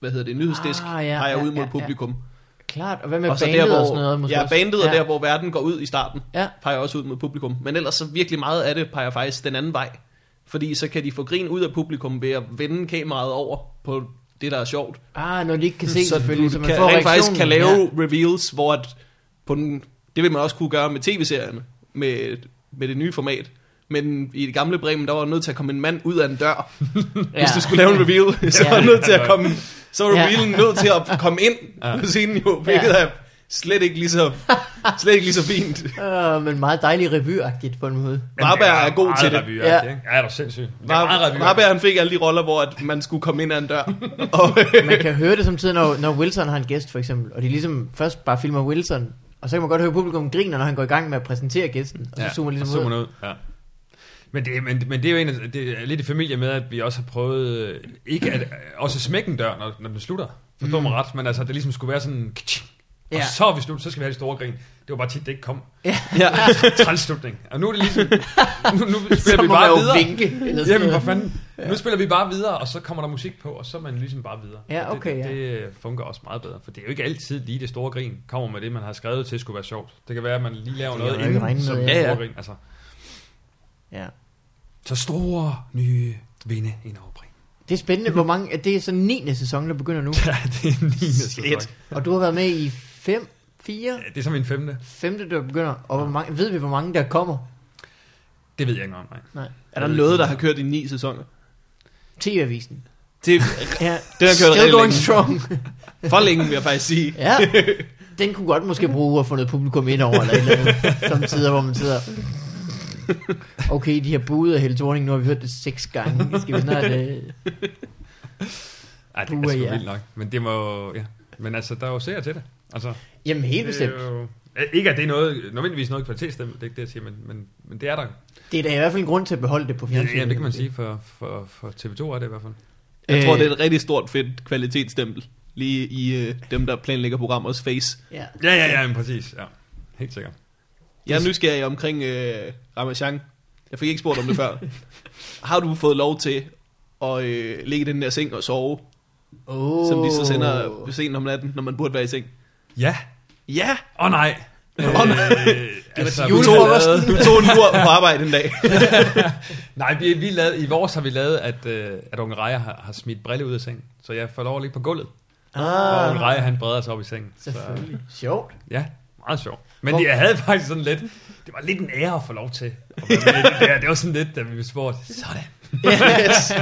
S1: hvad hedder det, nyhedsdisk,
S2: Ah,
S1: ah,
S2: ja,
S1: ja, peger
S2: ja,
S1: ud mod
S2: ja, ja.
S1: publikum.
S2: klart. Og hvad med
S1: og så
S2: bandet
S1: der, hvor,
S2: og sådan noget? Måske
S1: ja,
S2: også?
S1: bandet ja. og der, hvor verden går ud i starten,
S2: Ja.
S1: ja. peger også ud mod publikum. Men ellers så virkelig meget af det peger faktisk den anden vej. Fordi så kan de få grin ud af publikum ved at vende kameraet over på det, der er sjovt.
S2: Ah, når de ikke kan se,
S1: så
S2: selvfølgelig. Så
S1: du
S2: man
S1: kan,
S2: får
S1: rent faktisk kan
S2: reaktionen.
S1: lave
S2: Ja.
S1: ja. reveals, hvor at på den, det vil man også kunne gøre med tv-serierne, med, med det nye format. Men i det gamle Bremen, der var nødt til at komme en mand ud af en dør, ja. hvis du skulle lave en reveal. Så
S2: Ja.
S1: var, nødt til at komme, så var
S2: Ja.
S1: revealen nødt til at komme ind
S3: Ja.
S1: på scenen, jo, hvilket
S2: Ja.
S1: er slet ikke lige så, slet ikke lige så fint.
S2: Øh, men meget dejlig revyagtigt på en måde.
S1: Varberg er god til det.
S3: Ja. Ikke? ja, er du sindssyg. Det er meget revyagtigt.
S1: Varberg, han fik alle de roller, hvor at man skulle komme ind ad en dør. Og,
S2: Man kan høre det samtidig, når, når Wilson har en gæst for eksempel, og de ligesom først bare filmer Wilson, og så kan man godt høre publikum griner, når han går i gang med at præsentere gæsten, og så zoomer
S3: og
S2: ligesom
S3: zoomer
S2: ud.
S3: ud. Ja. Men, det, men, men det er jo en, af- det er lidt i familie med, at vi også har prøvet, øh, ikke at, også at smække en dør, når, når den slutter. Forstår mm. mig ret, men altså, det ligesom skulle være sådan, ktsching, og
S2: Ja.
S3: så er vi slut, så skal vi have det store grin. Det var bare tit, det ikke kom.
S1: ja.
S3: Træls slutning. Og nu er det ligesom, nu, nu
S2: Så
S3: spiller vi
S2: må man
S3: bare
S2: jo
S3: videre.
S2: vinke. Eller sådan
S3: Jamen, for
S2: noget.
S3: fanden. Nu spiller vi bare videre, og så kommer der musik på, og så er man ligesom bare videre.
S2: Ja,
S3: Og
S2: okay,
S3: det,
S2: ja.
S3: det, det fungerer også meget bedre, for det er jo ikke altid lige det store grin, kommer med det, man har skrevet til, skulle være sjovt. Det kan være, at man lige laver
S2: Det kan
S3: noget
S2: man jo ikke regne
S3: inden,
S2: med,
S3: som
S2: ja.
S3: ja,
S1: Ja,
S3: ja.
S1: ja.
S3: grin. Altså,
S2: Ja.
S3: så store nye vinde ind over Bremen.
S2: Det er spændende, hvor mange, at det er så 9. sæson, der begynder nu,
S3: Ja, det er en
S1: Shit.
S3: Shit.
S2: og du har været med i 5, 4,
S3: Det er som en femte.
S2: 5. der begynder, og hvor mange, ved vi, hvor mange der kommer?
S3: Det ved jeg ikke engang, nej.
S2: Nej.
S1: Er der noget, der har kørt i ni sæsoner?
S2: TV-avisen.
S1: Det,
S2: Ja.
S1: det har kørt
S2: Still
S1: rigtig
S2: going
S1: længe.
S2: strong.
S1: For længe, vil jeg faktisk sige.
S2: Ja, den kunne godt måske bruge at få noget publikum ind over, eller et eller andet, samtidig, hvor man sidder... Okay, de har budet af Helle Thorning, nu har vi hørt det seks gange. Skal vi snart... Øh...
S3: Ej, det er
S2: Puha,
S3: sgu
S2: ja.
S3: vildt nok. Men det må... Ja. Men altså, der er jo seere til det. Altså,
S2: Jamen, helt
S3: det er
S2: bestemt.
S3: jo, ikke at det er noget, nødvendigvis noget kvalitetsstempel, det er ikke det, jeg siger, men, men, men det er der.
S2: Det er da i hvert fald en grund til at beholde det på
S3: Ja,
S2: fjernsynet.
S3: ja, det kan man sige, for, for, for TV2 er det i hvert fald.
S1: Jeg tror,
S2: Øh,
S1: det er et rigtig stort, fedt kvalitetsstempel. Lige i øh, dem, der planlægger programmers face.
S2: Ja.
S3: Ja, ja, ja, men præcis. Ja. Helt sikkert.
S1: Jeg er nysgerrig omkring øh, Ramachan. Jeg fik ikke spurgt om det før. Har du fået lov til at øh, ligge i den der seng og sove,
S2: Oh.
S1: oh. som de så sender sent om natten, når man burde være i seng?
S3: Ja.
S1: Ja!
S3: Åh oh, nej. Åh
S1: Åh, nej.
S3: altså,
S1: Du
S3: vi
S1: tog,
S3: tog,
S2: Julefrokosten.
S1: du tog en mur på arbejde en dag.
S3: nej, vi, vi lavede, i vores har vi lavet, at, øh, at unge Rejer har, har smidt brille ud af sengen. Så jeg får lov at ligge på gulvet. Og unge
S2: Ah,
S3: Rejer, han breder sig op i sengen. Så,
S2: selvfølgelig. Sjovt.
S3: ja, meget sjovt. Men
S2: Hvor-
S3: jeg havde faktisk sådan lidt, det var lidt en ære at få lov til. At være med i det, der. det var sådan lidt, da vi blev spurgt, sådan.
S1: Yes.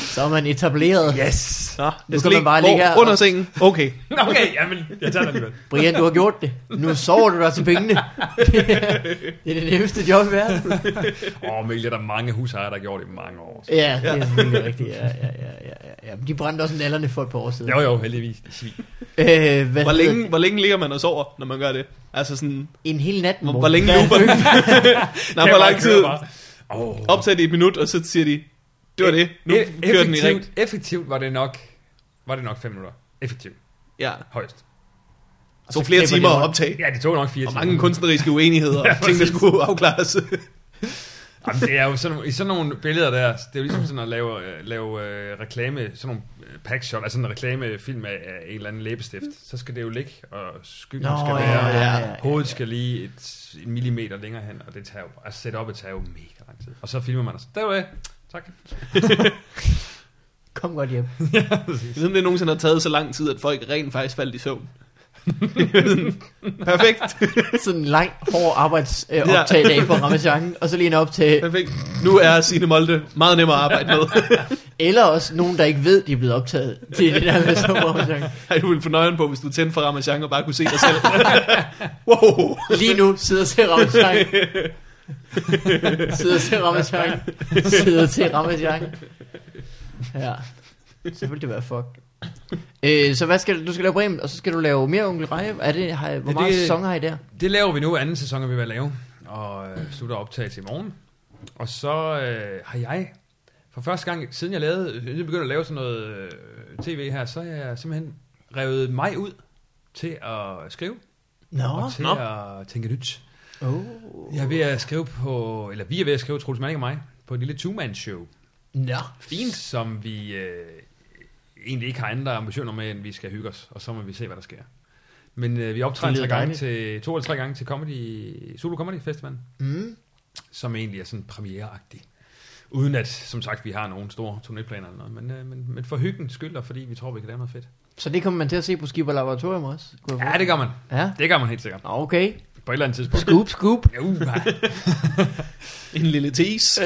S2: Så er man etableret.
S1: yes. Nå,
S2: kan man bare ligge her og-
S1: Under sengen. Okay.
S3: Nå, Okay, jamen, jeg tager den alligevel.
S2: Brian, du har gjort det. Nu sover du dig til pengene. det er det nemmeste job i verden.
S3: Åh, oh, Mikkel, der er mange husejere, der har gjort det i mange år.
S2: Ja, det er selvfølgelig rigtigt. Ja, ja, ja, ja, ja. Men De brændte også nallerne for et par år siden.
S3: Jo, jo, heldigvis. De svin.
S2: Øh, hvad
S1: Hvor
S2: hedder
S1: længe, hvor længe ligger man og sover, når man gør det? Altså sådan,
S2: det? En hel nat.
S1: hvor,
S2: Morten.
S1: hvor længe looper Nej, hvor lang tid?
S3: Oh.
S1: Op til det i et minut, og så siger de, det var det, nu kører den i ring.
S3: E-, effektivt, effektivt var det nok, var det nok fem minutter. Effektivt.
S1: Ja,
S3: Højst.
S1: så flere
S2: klipper de
S1: timer at
S2: rundt.
S1: optage.
S3: Ja, det tog nok fire
S1: Og
S3: timer.
S1: mange kunstneriske uenigheder og
S3: Ja,
S1: ting, der
S3: præcis.
S1: skulle afklares.
S3: Jamen, det er jo sådan, nogle- i sådan nogle billeder der, det er jo ligesom sådan at lave, øh, lave øh, reklame, sådan nogle øh, packshot, altså en reklamefilm af, af en eller anden læbestift. Så skal det jo ligge, og skyggen
S2: Nå,
S3: skal
S2: ja,
S3: være,
S2: ja, ja, ja,
S3: og hovedet skal lige et, en millimeter længere hen, og det tager jo, altså setupet tager jo mega lang tid. Og så filmer man, og så, der var det, tak.
S2: Kom godt hjem.
S3: ja, præcis.
S1: Jeg ved, om det nogensinde har taget så lang tid, at folk rent faktisk faldt i søvn. Perfekt.
S2: Sådan en lang, hård arbejdsoptagdag på Ramachan, og så lige en optag.
S1: Perfekt. Nu er Signe Molde meget nemmere at arbejde med.
S2: Eller også nogen, der ikke ved, de er blevet optaget til det der med så Ramachan.
S1: Ej, du ville få nøglen på, hvis du tændte for Ramachan og bare kunne se dig selv. wow.
S2: Lige nu sidder til Ramachan. sidder til Ramachan. Sidder til Ramachan. Ja. Så ville det være fuck. Øh, så hvad skal du, du skal lave Bremen, og så skal du lave mere Onkel Reje. Er det, har, hvor
S3: Ja,
S2: mange
S3: det-
S2: sæsoner har I der?
S3: Det laver vi nu, anden sæson er vi ved at lave, og øh, slutter optagelse i morgen. Og så øh, har jeg, for første gang siden jeg lavede, siden jeg begyndte at lave sådan noget øh, tv her, så har jeg simpelthen revet mig ud til at skrive
S2: Nå.
S3: og til
S1: nå.
S3: at tænke nyt.
S2: Oh.
S3: Jeg er ved at skrive på, eller vi er ved at skrive, Troels Manning og mig, på et lille two-man-show.
S2: Nå.
S3: Fint. Som vi øh, egentlig ikke har andre ambitioner med, end vi skal hygge os, og så må vi se, hvad der sker. Men øh, vi optræder
S2: Det lyder
S3: tre gange
S2: dejligt.
S3: til, to eller tre gange til comedy, Solo Comedy Festivalen
S2: Mm.
S3: som egentlig er sådan premiereagtig. Uden at, som sagt, vi har nogle store turnéplaner eller noget, men, øh, men, men for hyggens skyld, og fordi vi tror, vi kan lave noget fedt.
S2: Så det kommer man til at se på Skipper Laboratorium også? kunne jeg
S3: Ja, det gør man.
S2: forestille mig. Ja.
S3: Det gør man helt sikkert.
S2: Nå, Okay.
S3: På et eller andet tidspunkt.
S2: Scoop, scoop.
S3: Ja, uh,
S1: En lille tease.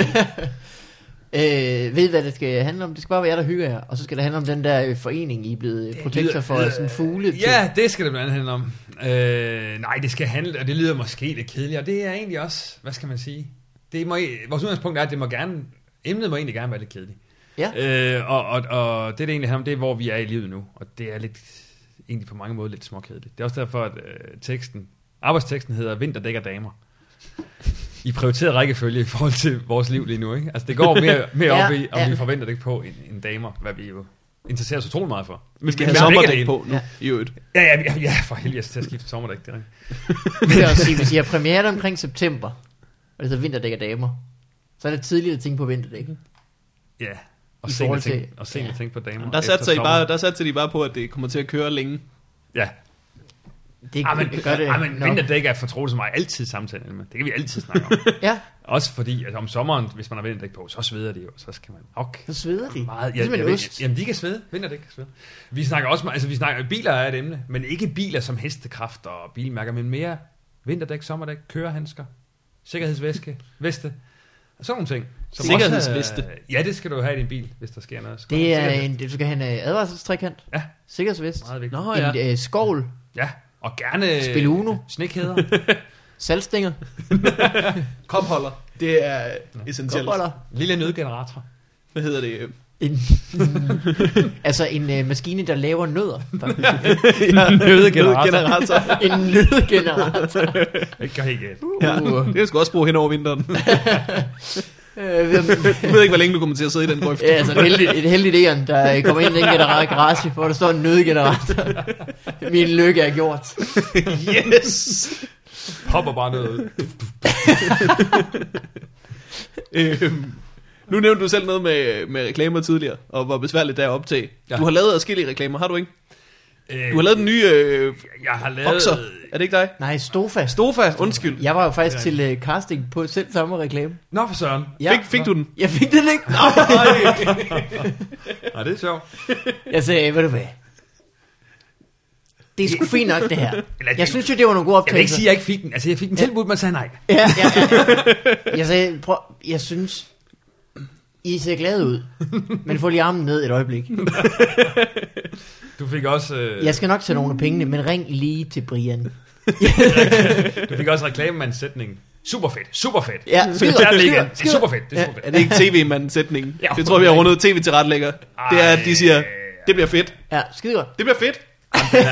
S2: Øh, ved I, hvad det skal handle om? Det skal bare være jer, der hygger jer. Og så skal det handle om den der øh, forening, I er blevet øh, protektor for, øh, sådan en fugle.
S3: Ja, det skal det blandt andet handle om. Øh, nej, det skal handle, og det lyder måske lidt kedeligt, og det er egentlig også, hvad skal man sige? Det må, vores udgangspunkt er, at det må gerne, emnet må egentlig gerne være lidt kedeligt. Ja. Øh, og, og, og det, det egentlig handler om, det er, hvor vi er i livet nu. Og det er lidt, egentlig på mange måder lidt småkedeligt. Det er også derfor, at øh, teksten, arbejdsteksten hedder Vinter dækker damer. I prioriteret rækkefølge i forhold til vores liv lige nu. Ikke? Altså det går mere, mere
S2: Ja,
S3: op i, om
S2: ja.
S3: vi forventer det på end, end damer, hvad vi jo interesserer os utrolig meget for. Men
S1: Vi skal have
S3: men begge
S1: sommerdæk
S3: dele.
S1: på nu,
S2: Ja.
S1: i øvrigt.
S3: Ja, ja, ja, ja for helvede, jeg skal til at skifte sommerdæk, det er rigtigt.
S2: Det er også sige, hvis I har premiere omkring september, og det hedder vinterdæk af damer, så er det tidligt at tænke på vinterdæk.
S3: Ja, og
S2: I
S3: sent
S2: forhold
S3: at tænke,
S2: til-
S3: og sent
S2: ja.
S3: at tænke på damer.
S1: Der
S3: efter
S1: satser, I
S3: sommeren.
S1: bare, der satser de bare på, at det kommer til at køre længe.
S3: Ja,
S2: Det
S3: Ej, Ah, men,
S2: gør det
S3: ej, men
S2: nok.
S3: vinterdæk er for Troels og mig altid samtalen med. Det kan vi altid snakke om.
S2: Ja,
S3: Også fordi, at om sommeren, hvis man har vinterdæk på, så sveder det jo, så skal man nok.
S2: så sveder de.
S3: Ah, Meget,
S2: Ligesom en
S3: ved-
S2: ost.
S3: Jamen, de kan svede. Vinterdæk kan svede. Vi snakker også, meget- altså vi snakker, biler er et emne, men ikke biler som hestekraft og bilmærker, men mere vinterdæk, sommerdæk, kørehandsker, sikkerhedsvæske, veste, og sådan nogle ting. også er-
S1: Sikkerhedsveste.
S3: ja, det skal du have i din bil, hvis der sker noget. Så
S2: Det er
S3: sikkerhed.
S2: en, du skal have en øh, advarselstrækant,
S3: Ja,
S2: sikkerhedsvest,
S3: meget vigtigt.
S1: Nå,
S3: Nå.
S1: ja.
S2: en øh, skovl,
S3: Ja, og gerne... øh,
S2: Spil Uno.
S3: Snikhæder.
S2: saltstænger,
S1: Kopholder. Det er essentielt.
S2: kopholder.
S3: Lille nødgenerator.
S1: Hvad hedder det?
S2: En, altså en øh, maskine, der laver nødder. faktisk.
S1: ja,
S3: nødgenerator.
S1: nødgenerator.
S2: en nødgenerator. Uh.
S3: Ikke helt galt.
S1: Ja, det kan sgu også bruge hen over vinteren.
S2: Øh, hvem-
S1: Jeg ved ikke, hvor længe du kommer til at sidde i den grøft.
S2: Ja, altså et heldigt, et heldigt æren, der øh, kommer ind i den genera- garage, hvor der står en nødgenerator. Min lykke er gjort.
S1: Yes!
S3: Popper bare noget ud.
S1: Øhm, nu nævnte du selv noget med, med reklamer tidligere, og hvor besværligt det er at optage.
S3: Ja.
S1: Du har lavet adskillige reklamer, har du ikke?
S3: Øh,
S1: Du har lavet den nye øh,
S3: Jeg har lavet...
S1: boxer. Er det ikke dig?
S2: Nej, Stofa.
S1: Stofa, undskyld.
S2: Jeg var jo faktisk til øh, casting på selv samme reklame.
S3: Nå for søren.
S2: Ja.
S1: Fik, fik du den?
S2: Jeg fik den ikke.
S3: Nej, det er sjovt.
S2: Jeg sagde, ved du hvad? Det er sgu fint nok, det her.
S3: Eller det-
S2: Jeg synes jo, det var nogle gode
S3: Jeg vil ikke
S2: optagelser.
S3: sige, at jeg ikke fik den. Altså, jeg fik den tilbudt, men sagde nej.
S2: Ja, ja, ja. Jeg sagde, prøv, jeg synes, I ser glade ud, men få lige armen ned et øjeblik.
S3: Du fik også, øh,
S2: Jeg skal nok tage nogle af pengene, men ring lige til Brian.
S3: du fik også reklamemandsætning. Super fedt, super fedt.
S2: Ja,
S3: Skid,
S2: skider,
S3: det,
S2: skider,
S3: er super fedt, det er super fedt.
S1: Er det ikke tv-mandsætningen?
S3: Ja,
S1: det tror vi har rundet tv-tilretlægger. Det er, at de siger,
S3: Ej.
S1: det bliver fedt.
S2: Ja, skide godt.
S1: Det bliver fedt.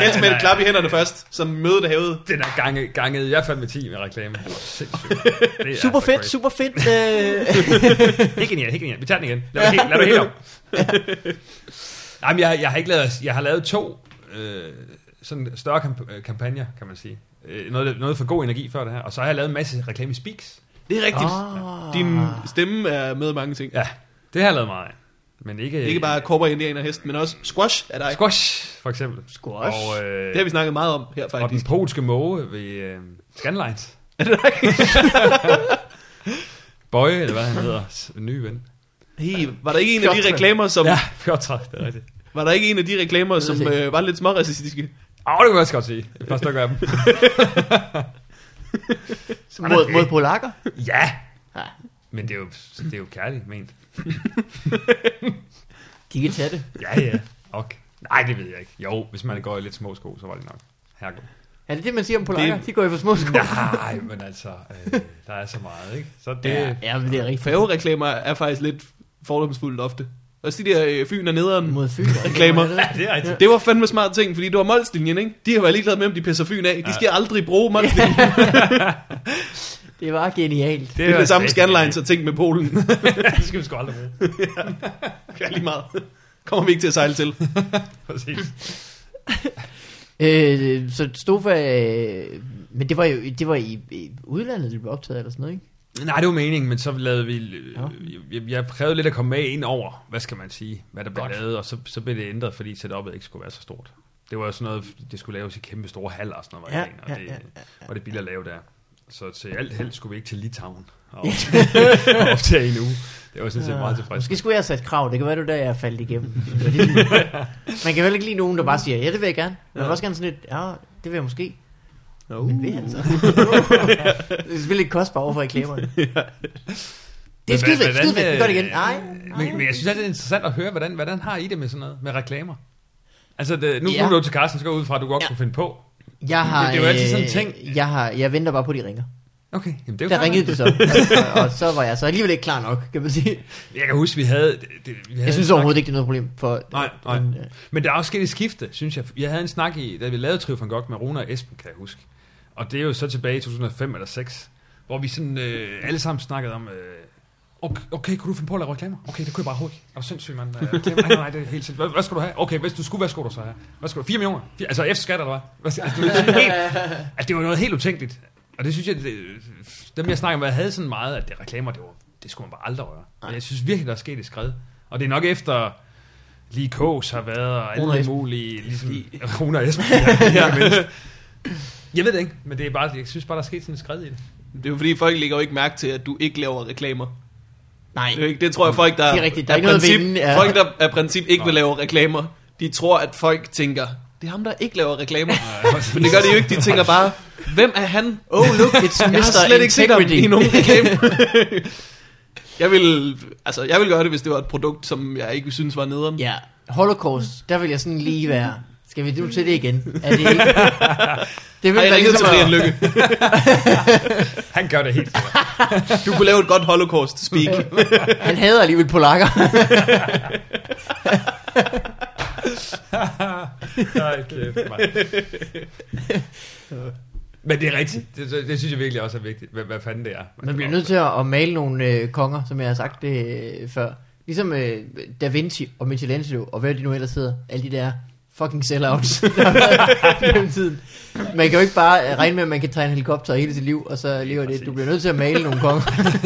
S1: Helst med et klap i hænderne først, som mødet hævet.
S3: Den er ganget, ganget i hvert fald med 10 med reklame. Det var sindssygt. Det er altså
S2: Super
S3: så
S2: fedt,
S3: crazy.
S2: super fedt. Øh,
S3: Helt genialt, helt genialt. Vi tager den igen. Lad det helt, lad det helt om. Nej, men jeg, jeg har ikke lavet, jeg har lavet to øh, sådan større kamp- øh, kampagner, kan man sige. Øh, noget, noget for god energi før det her. Og så har jeg lavet en masse reklame i Speaks.
S1: Det er rigtigt.
S2: ah,
S1: Din stemme er med i mange ting.
S3: Ja, det har jeg lavet meget af. Men ikke,
S1: Ikke bare kopper, indianer, hest, men også squash er dig.
S3: Øh. Squash, for eksempel.
S2: Squash.
S3: Og, øh,
S1: Det har vi snakket meget om her
S3: og den
S1: faktisk.
S3: polske måge ved øh, Scanlines. Bøje, eller hvad han hedder, s- ny ven.
S1: Hey, var der ikke en af de
S2: Fjortræ.
S1: reklamer, som,
S3: Ja, Piotr, det er rigtigt.
S1: var der ikke en af de reklamer, som
S2: ikke.
S1: øh, var lidt småracistiske?
S3: Åh, det kan man også godt sige. Et par stykker af dem.
S2: mod, mod polakker?
S3: Ja,
S2: Ja,
S3: men det er jo, det er jo kærligt ment.
S2: de kan tage det.
S3: Ja, ja. Okay. Nej, det ved jeg ikke. Jo, hvis man går i lidt små sko, så var det nok. Herregud.
S2: Er det det, man siger om polakker?
S1: Det-
S2: De går i for små sko.
S3: Nej, men altså, øh, der er så meget, ikke? Så det...
S2: Ja, ja, men det er rigtigt.
S1: Færgereklamer er faktisk lidt fordomsfuldt ofte. Også de der øh, Fyn og
S3: Mm.
S1: nederen.
S2: Mod fyre.
S1: Reklamer.
S3: Ja, det er rigtigt.
S1: Det var fandme smart ting, fordi det var Molslinjen, ikke? De har været ligeglade med, om de pisser Fyn af. De skal aldrig bruge Molslinjen.
S2: Det var genialt.
S1: Det er det samme Scanlines
S3: så
S1: og ting med Polen. Det
S3: det skal vi sgu aldrig bruge.
S1: er lige meget. Kommer vi ikke til at sejle til.
S3: Præcis.
S2: Øh, så Stofa... Øh, men det var jo det var i, i udlandet, det blev optaget eller sådan noget, ikke?
S3: Nej, det var meningen, men så lavede vi...
S2: Ja.
S3: Øh, jeg, jeg prøvede lidt at komme med ind over, hvad skal man sige, hvad der blev
S2: Godt.
S3: lavet, og så, så blev det ændret, fordi setupet ikke skulle være så stort. Det var jo sådan noget, det skulle laves i kæmpe store haller og sådan noget,
S2: Ja,
S3: var ideen, og,
S2: ja,
S3: det,
S2: ja,
S3: og det er billigt at lave der. Så til alt held skulle vi ikke til Litauen og optage- og optage i en uge. Det var sådan set meget tilfreds.
S2: Måske skulle jeg have sat krav, det kan være, det var der, jeg faldt igennem. Det var ligesom- man kan vel ikke lide nogen, der bare siger, ja, det vil jeg gerne. Man vil også gerne sådan lidt, ja, det vil jeg måske.
S1: Uh.
S2: Men vil han så? det er selvfølgelig ikke kostbart overfor reklamerne. Det er
S3: Men
S2: skide
S3: hvad-
S2: fedt, skide
S3: hvordan,
S2: fedt, vi gør det igen.
S3: øh,
S2: Nej,
S3: Men, men
S2: nej.
S3: jeg synes, at det er interessant at høre, hvordan, hvordan har I det med sådan noget, med reklamer? Altså, det, nu,
S2: Ja.
S3: ja. nu er du til Carsten, så går jeg ud fra, at du godt
S2: Ja.
S3: ja. kunne finde på.
S2: Jeg har,
S3: det er jo altid sådan en
S2: øh,
S3: ting.
S2: Jeg, har, jeg venter bare på, at de ringer.
S3: Okay, jamen det er
S2: Der
S3: jo klart.
S2: ringede det så, og, og så var jeg så alligevel ikke klar nok, kan man sige.
S3: Jeg kan huske, vi havde... Det, det, vi havde
S2: Jeg synes
S3: en snak-
S2: overhovedet ikke, det er noget problem for...
S3: Nej, nej.
S2: Men, øh,
S3: Men der er også sket et skifte, synes jeg. Jeg havde en snak i, da vi lavede Trio van Gogh med Rune og Esben, kan jeg huske. Og det er jo så tilbage i 2005 eller 6, hvor vi sådan øh, alle sammen snakkede om... Øh, okay, okay, kunne du finde på at lave reklamer? Okay, det kunne jeg bare overhovedet ikke. Jeg var sindssyg, mand. Øh, reklamer. Nej, nej, det er helt sindssygt. Hvad, hvad skulle du have? Okay, hvis du skulle, hvad skulle du så have? Hvad skulle du? 4 millioner? Fire, altså efter skat, eller hvad? hvad skal- altså, det, var sådan helt, altså, det var noget helt utænkeligt. Og det synes jeg, det, dem jeg snakker med, havde sådan meget, at det reklamer, det, var, det skulle man bare aldrig røre. Og jeg synes virkelig, der er sket et skred. Og det er nok efter, Lige Kås har været, og
S2: Rune og
S3: alle
S2: Esben.
S3: mulige... Ligesom, Rune og Esben, ja, ja. mindst. Jeg ved det ikke, men det er bare, jeg synes bare, der er sket sådan en skred i det.
S1: Det er jo fordi, folk lægger jo ikke mærke til, at du ikke laver reklamer.
S2: nej.
S1: Det, er jo ikke, det tror jeg, folk, der,
S2: Det er rigtigt, der er
S1: af
S2: ikke noget at
S1: princip,
S2: vinde, ja.
S1: folk, der af princip ikke vil lave reklamer, de tror, at folk tænker, det er ham, der ikke laver reklamer. Men det gør de jo ikke, de tænker bare, hvem er han?
S2: Oh look, it's Mr.
S1: Jeg har slet ikke set ham
S2: Integrity.
S1: i nogen reklame. jeg vil, altså, jeg vil gøre det, hvis det var et produkt, som jeg ikke synes var nederen.
S2: Ja, Holocaust, der vil jeg sådan lige være... Skal vi nu til det igen? Er det ikke? Det
S1: Har jeg
S2: være ligesom
S1: ringet til Brian
S2: at-
S1: Lykke?
S3: Han gør det helt sikkert.
S1: Du kunne lave et godt holocaust-speak.
S2: Han hader alligevel polakker.
S3: Nej, kæft, mand. Men det er rigtigt. Det, det, det, synes jeg virkelig også er vigtigt, hvad, hvad fanden det er.
S2: Man bliver nødt til at, at male nogle øh, konger, som jeg har sagt det øh, før. Ligesom øh, Da Vinci og Michelangelo, og hvad de nu ellers hedder. Alle de der fucking sellouts, der har været gennem tiden. Man kan jo ikke bare øh, regne med, at man kan tegne helikopter hele sit liv, og så lever det. Du bliver nødt til at male nogle konger.
S3: Præcis,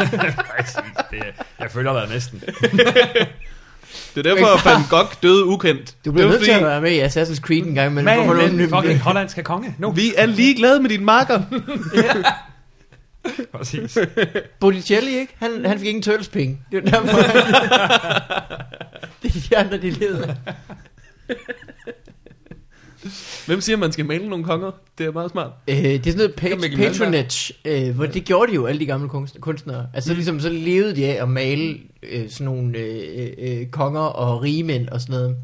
S3: det, er- jeg føler dig næsten.
S1: Det er derfor, at Van Gogh døde ukendt.
S2: Du bliver
S1: Det var
S2: nødt til at
S1: fordi,
S2: være med i Assassin's Creed en gang imellem. for at få nogle nye-
S3: Men fucking hollandske konge. No.
S1: Vi er ligeglade med din marker.
S3: Præcis.
S2: Botticelli, ikke? Han, han fik ingen tølspenge. Det var derfor. det er de andre, de leder.
S1: Hvem siger, man skal male nogle konger? Det er meget smart.
S2: Øh, det er sådan noget
S3: Det kan
S2: page,
S3: Mikkel Malmberg.
S2: patronage, øh, hvor det gjorde de jo, alle de gamle kunst- kunstnere. Altså mm. ligesom, så levede de af at male øh, sådan nogle øh, øh, konger og rigemænd og sådan noget.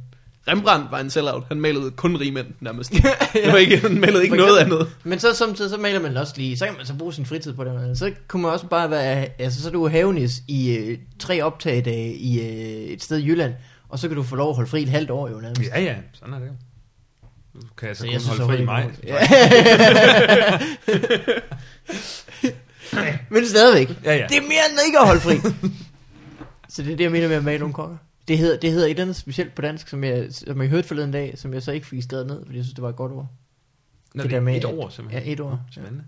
S1: Rembrandt var en sellout. Han malede kun rigmænd nærmest. Det var ikke, han malede ikke
S2: For
S1: noget
S2: eksempel.
S1: andet.
S2: Men så samtidig, så maler man også lige, så kan man så bruge sin fritid på det. men Så kunne man også bare være, altså så er du havenis i øh, tre optagedage i øh, et sted i Jylland, og så kan du få lov at holde fri et halvt år jo nærmest.
S3: Ja, ja, sådan er det jo. Nu kan jeg så,
S2: Så Altså,
S3: så
S2: jeg
S3: kun
S2: synes,
S3: holde fri i
S2: overhovedet
S3: mig.
S2: ikke, Men stadigvæk,
S3: Ja, ja.
S2: det er mere end ikke at holde fri. så det er det, jeg mener med at male nogle konger. Det hedder, det hedder et eller andet specielt på dansk, som jeg, som jeg hørte forleden dag, som jeg så ikke fik skrevet ned, fordi jeg synes, det var et godt ord.
S3: Nå,
S2: det
S3: det,
S2: der
S3: er
S2: med at-
S3: et år, simpelthen.
S2: ja, et år, ja.
S3: Spændende.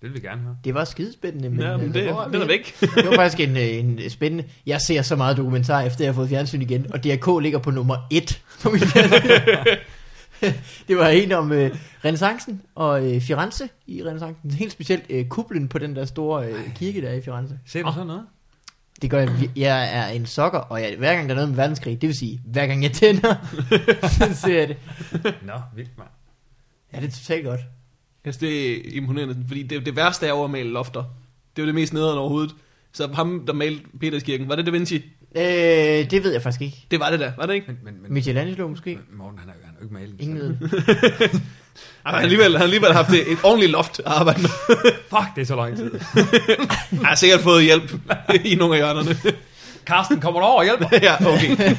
S3: Det vil vi gerne høre.
S2: Det var skidespændende. Men,
S1: Ja, men det,
S2: hvor vi
S1: den øh, er
S2: henne?
S1: væk.
S2: Det var faktisk en, øh, en spændende... Jeg ser så meget dokumentar, efter jeg har fået fjernsyn igen, og DRK ligger på nummer et på min fjernsyn. det var en om øh, renaissancen og øh, Firenze i renaissancen. Helt specielt øh, kuplen på den der store øh, kirke, der er i Firenze.
S3: Ser du så noget?
S2: Det gør jeg, vir- jeg er en sokker, og jeg, hver gang der er noget med verdenskrig, det vil sige, hver gang jeg tænder, så ser jeg det.
S3: Nå, vildt, mand.
S2: Ja, det er totalt godt.
S1: Jeg synes, Altså, det er imponerende, fordi det, det værste er over at male lofter. Det er jo det mest nederen overhovedet. Så ham, der malte Peterskirken, var det Da Vinci?
S2: Øh, det ved jeg faktisk ikke.
S1: Det var det da, var det ikke?
S3: Men, men, men,
S2: Michelangelo måske?
S3: men Morten, han har jo han har jo ikke malet.
S2: Ingen ved. det.
S1: Ej, han har alligevel, han har alligevel haft et, et ordentligt loft at arbejde med.
S3: Fuck, det er så lang tid.
S1: Jeg har sikkert fået hjælp i nogle af hjørnerne.
S3: Karsten, kommer du over og hjælper?
S1: ja, okay.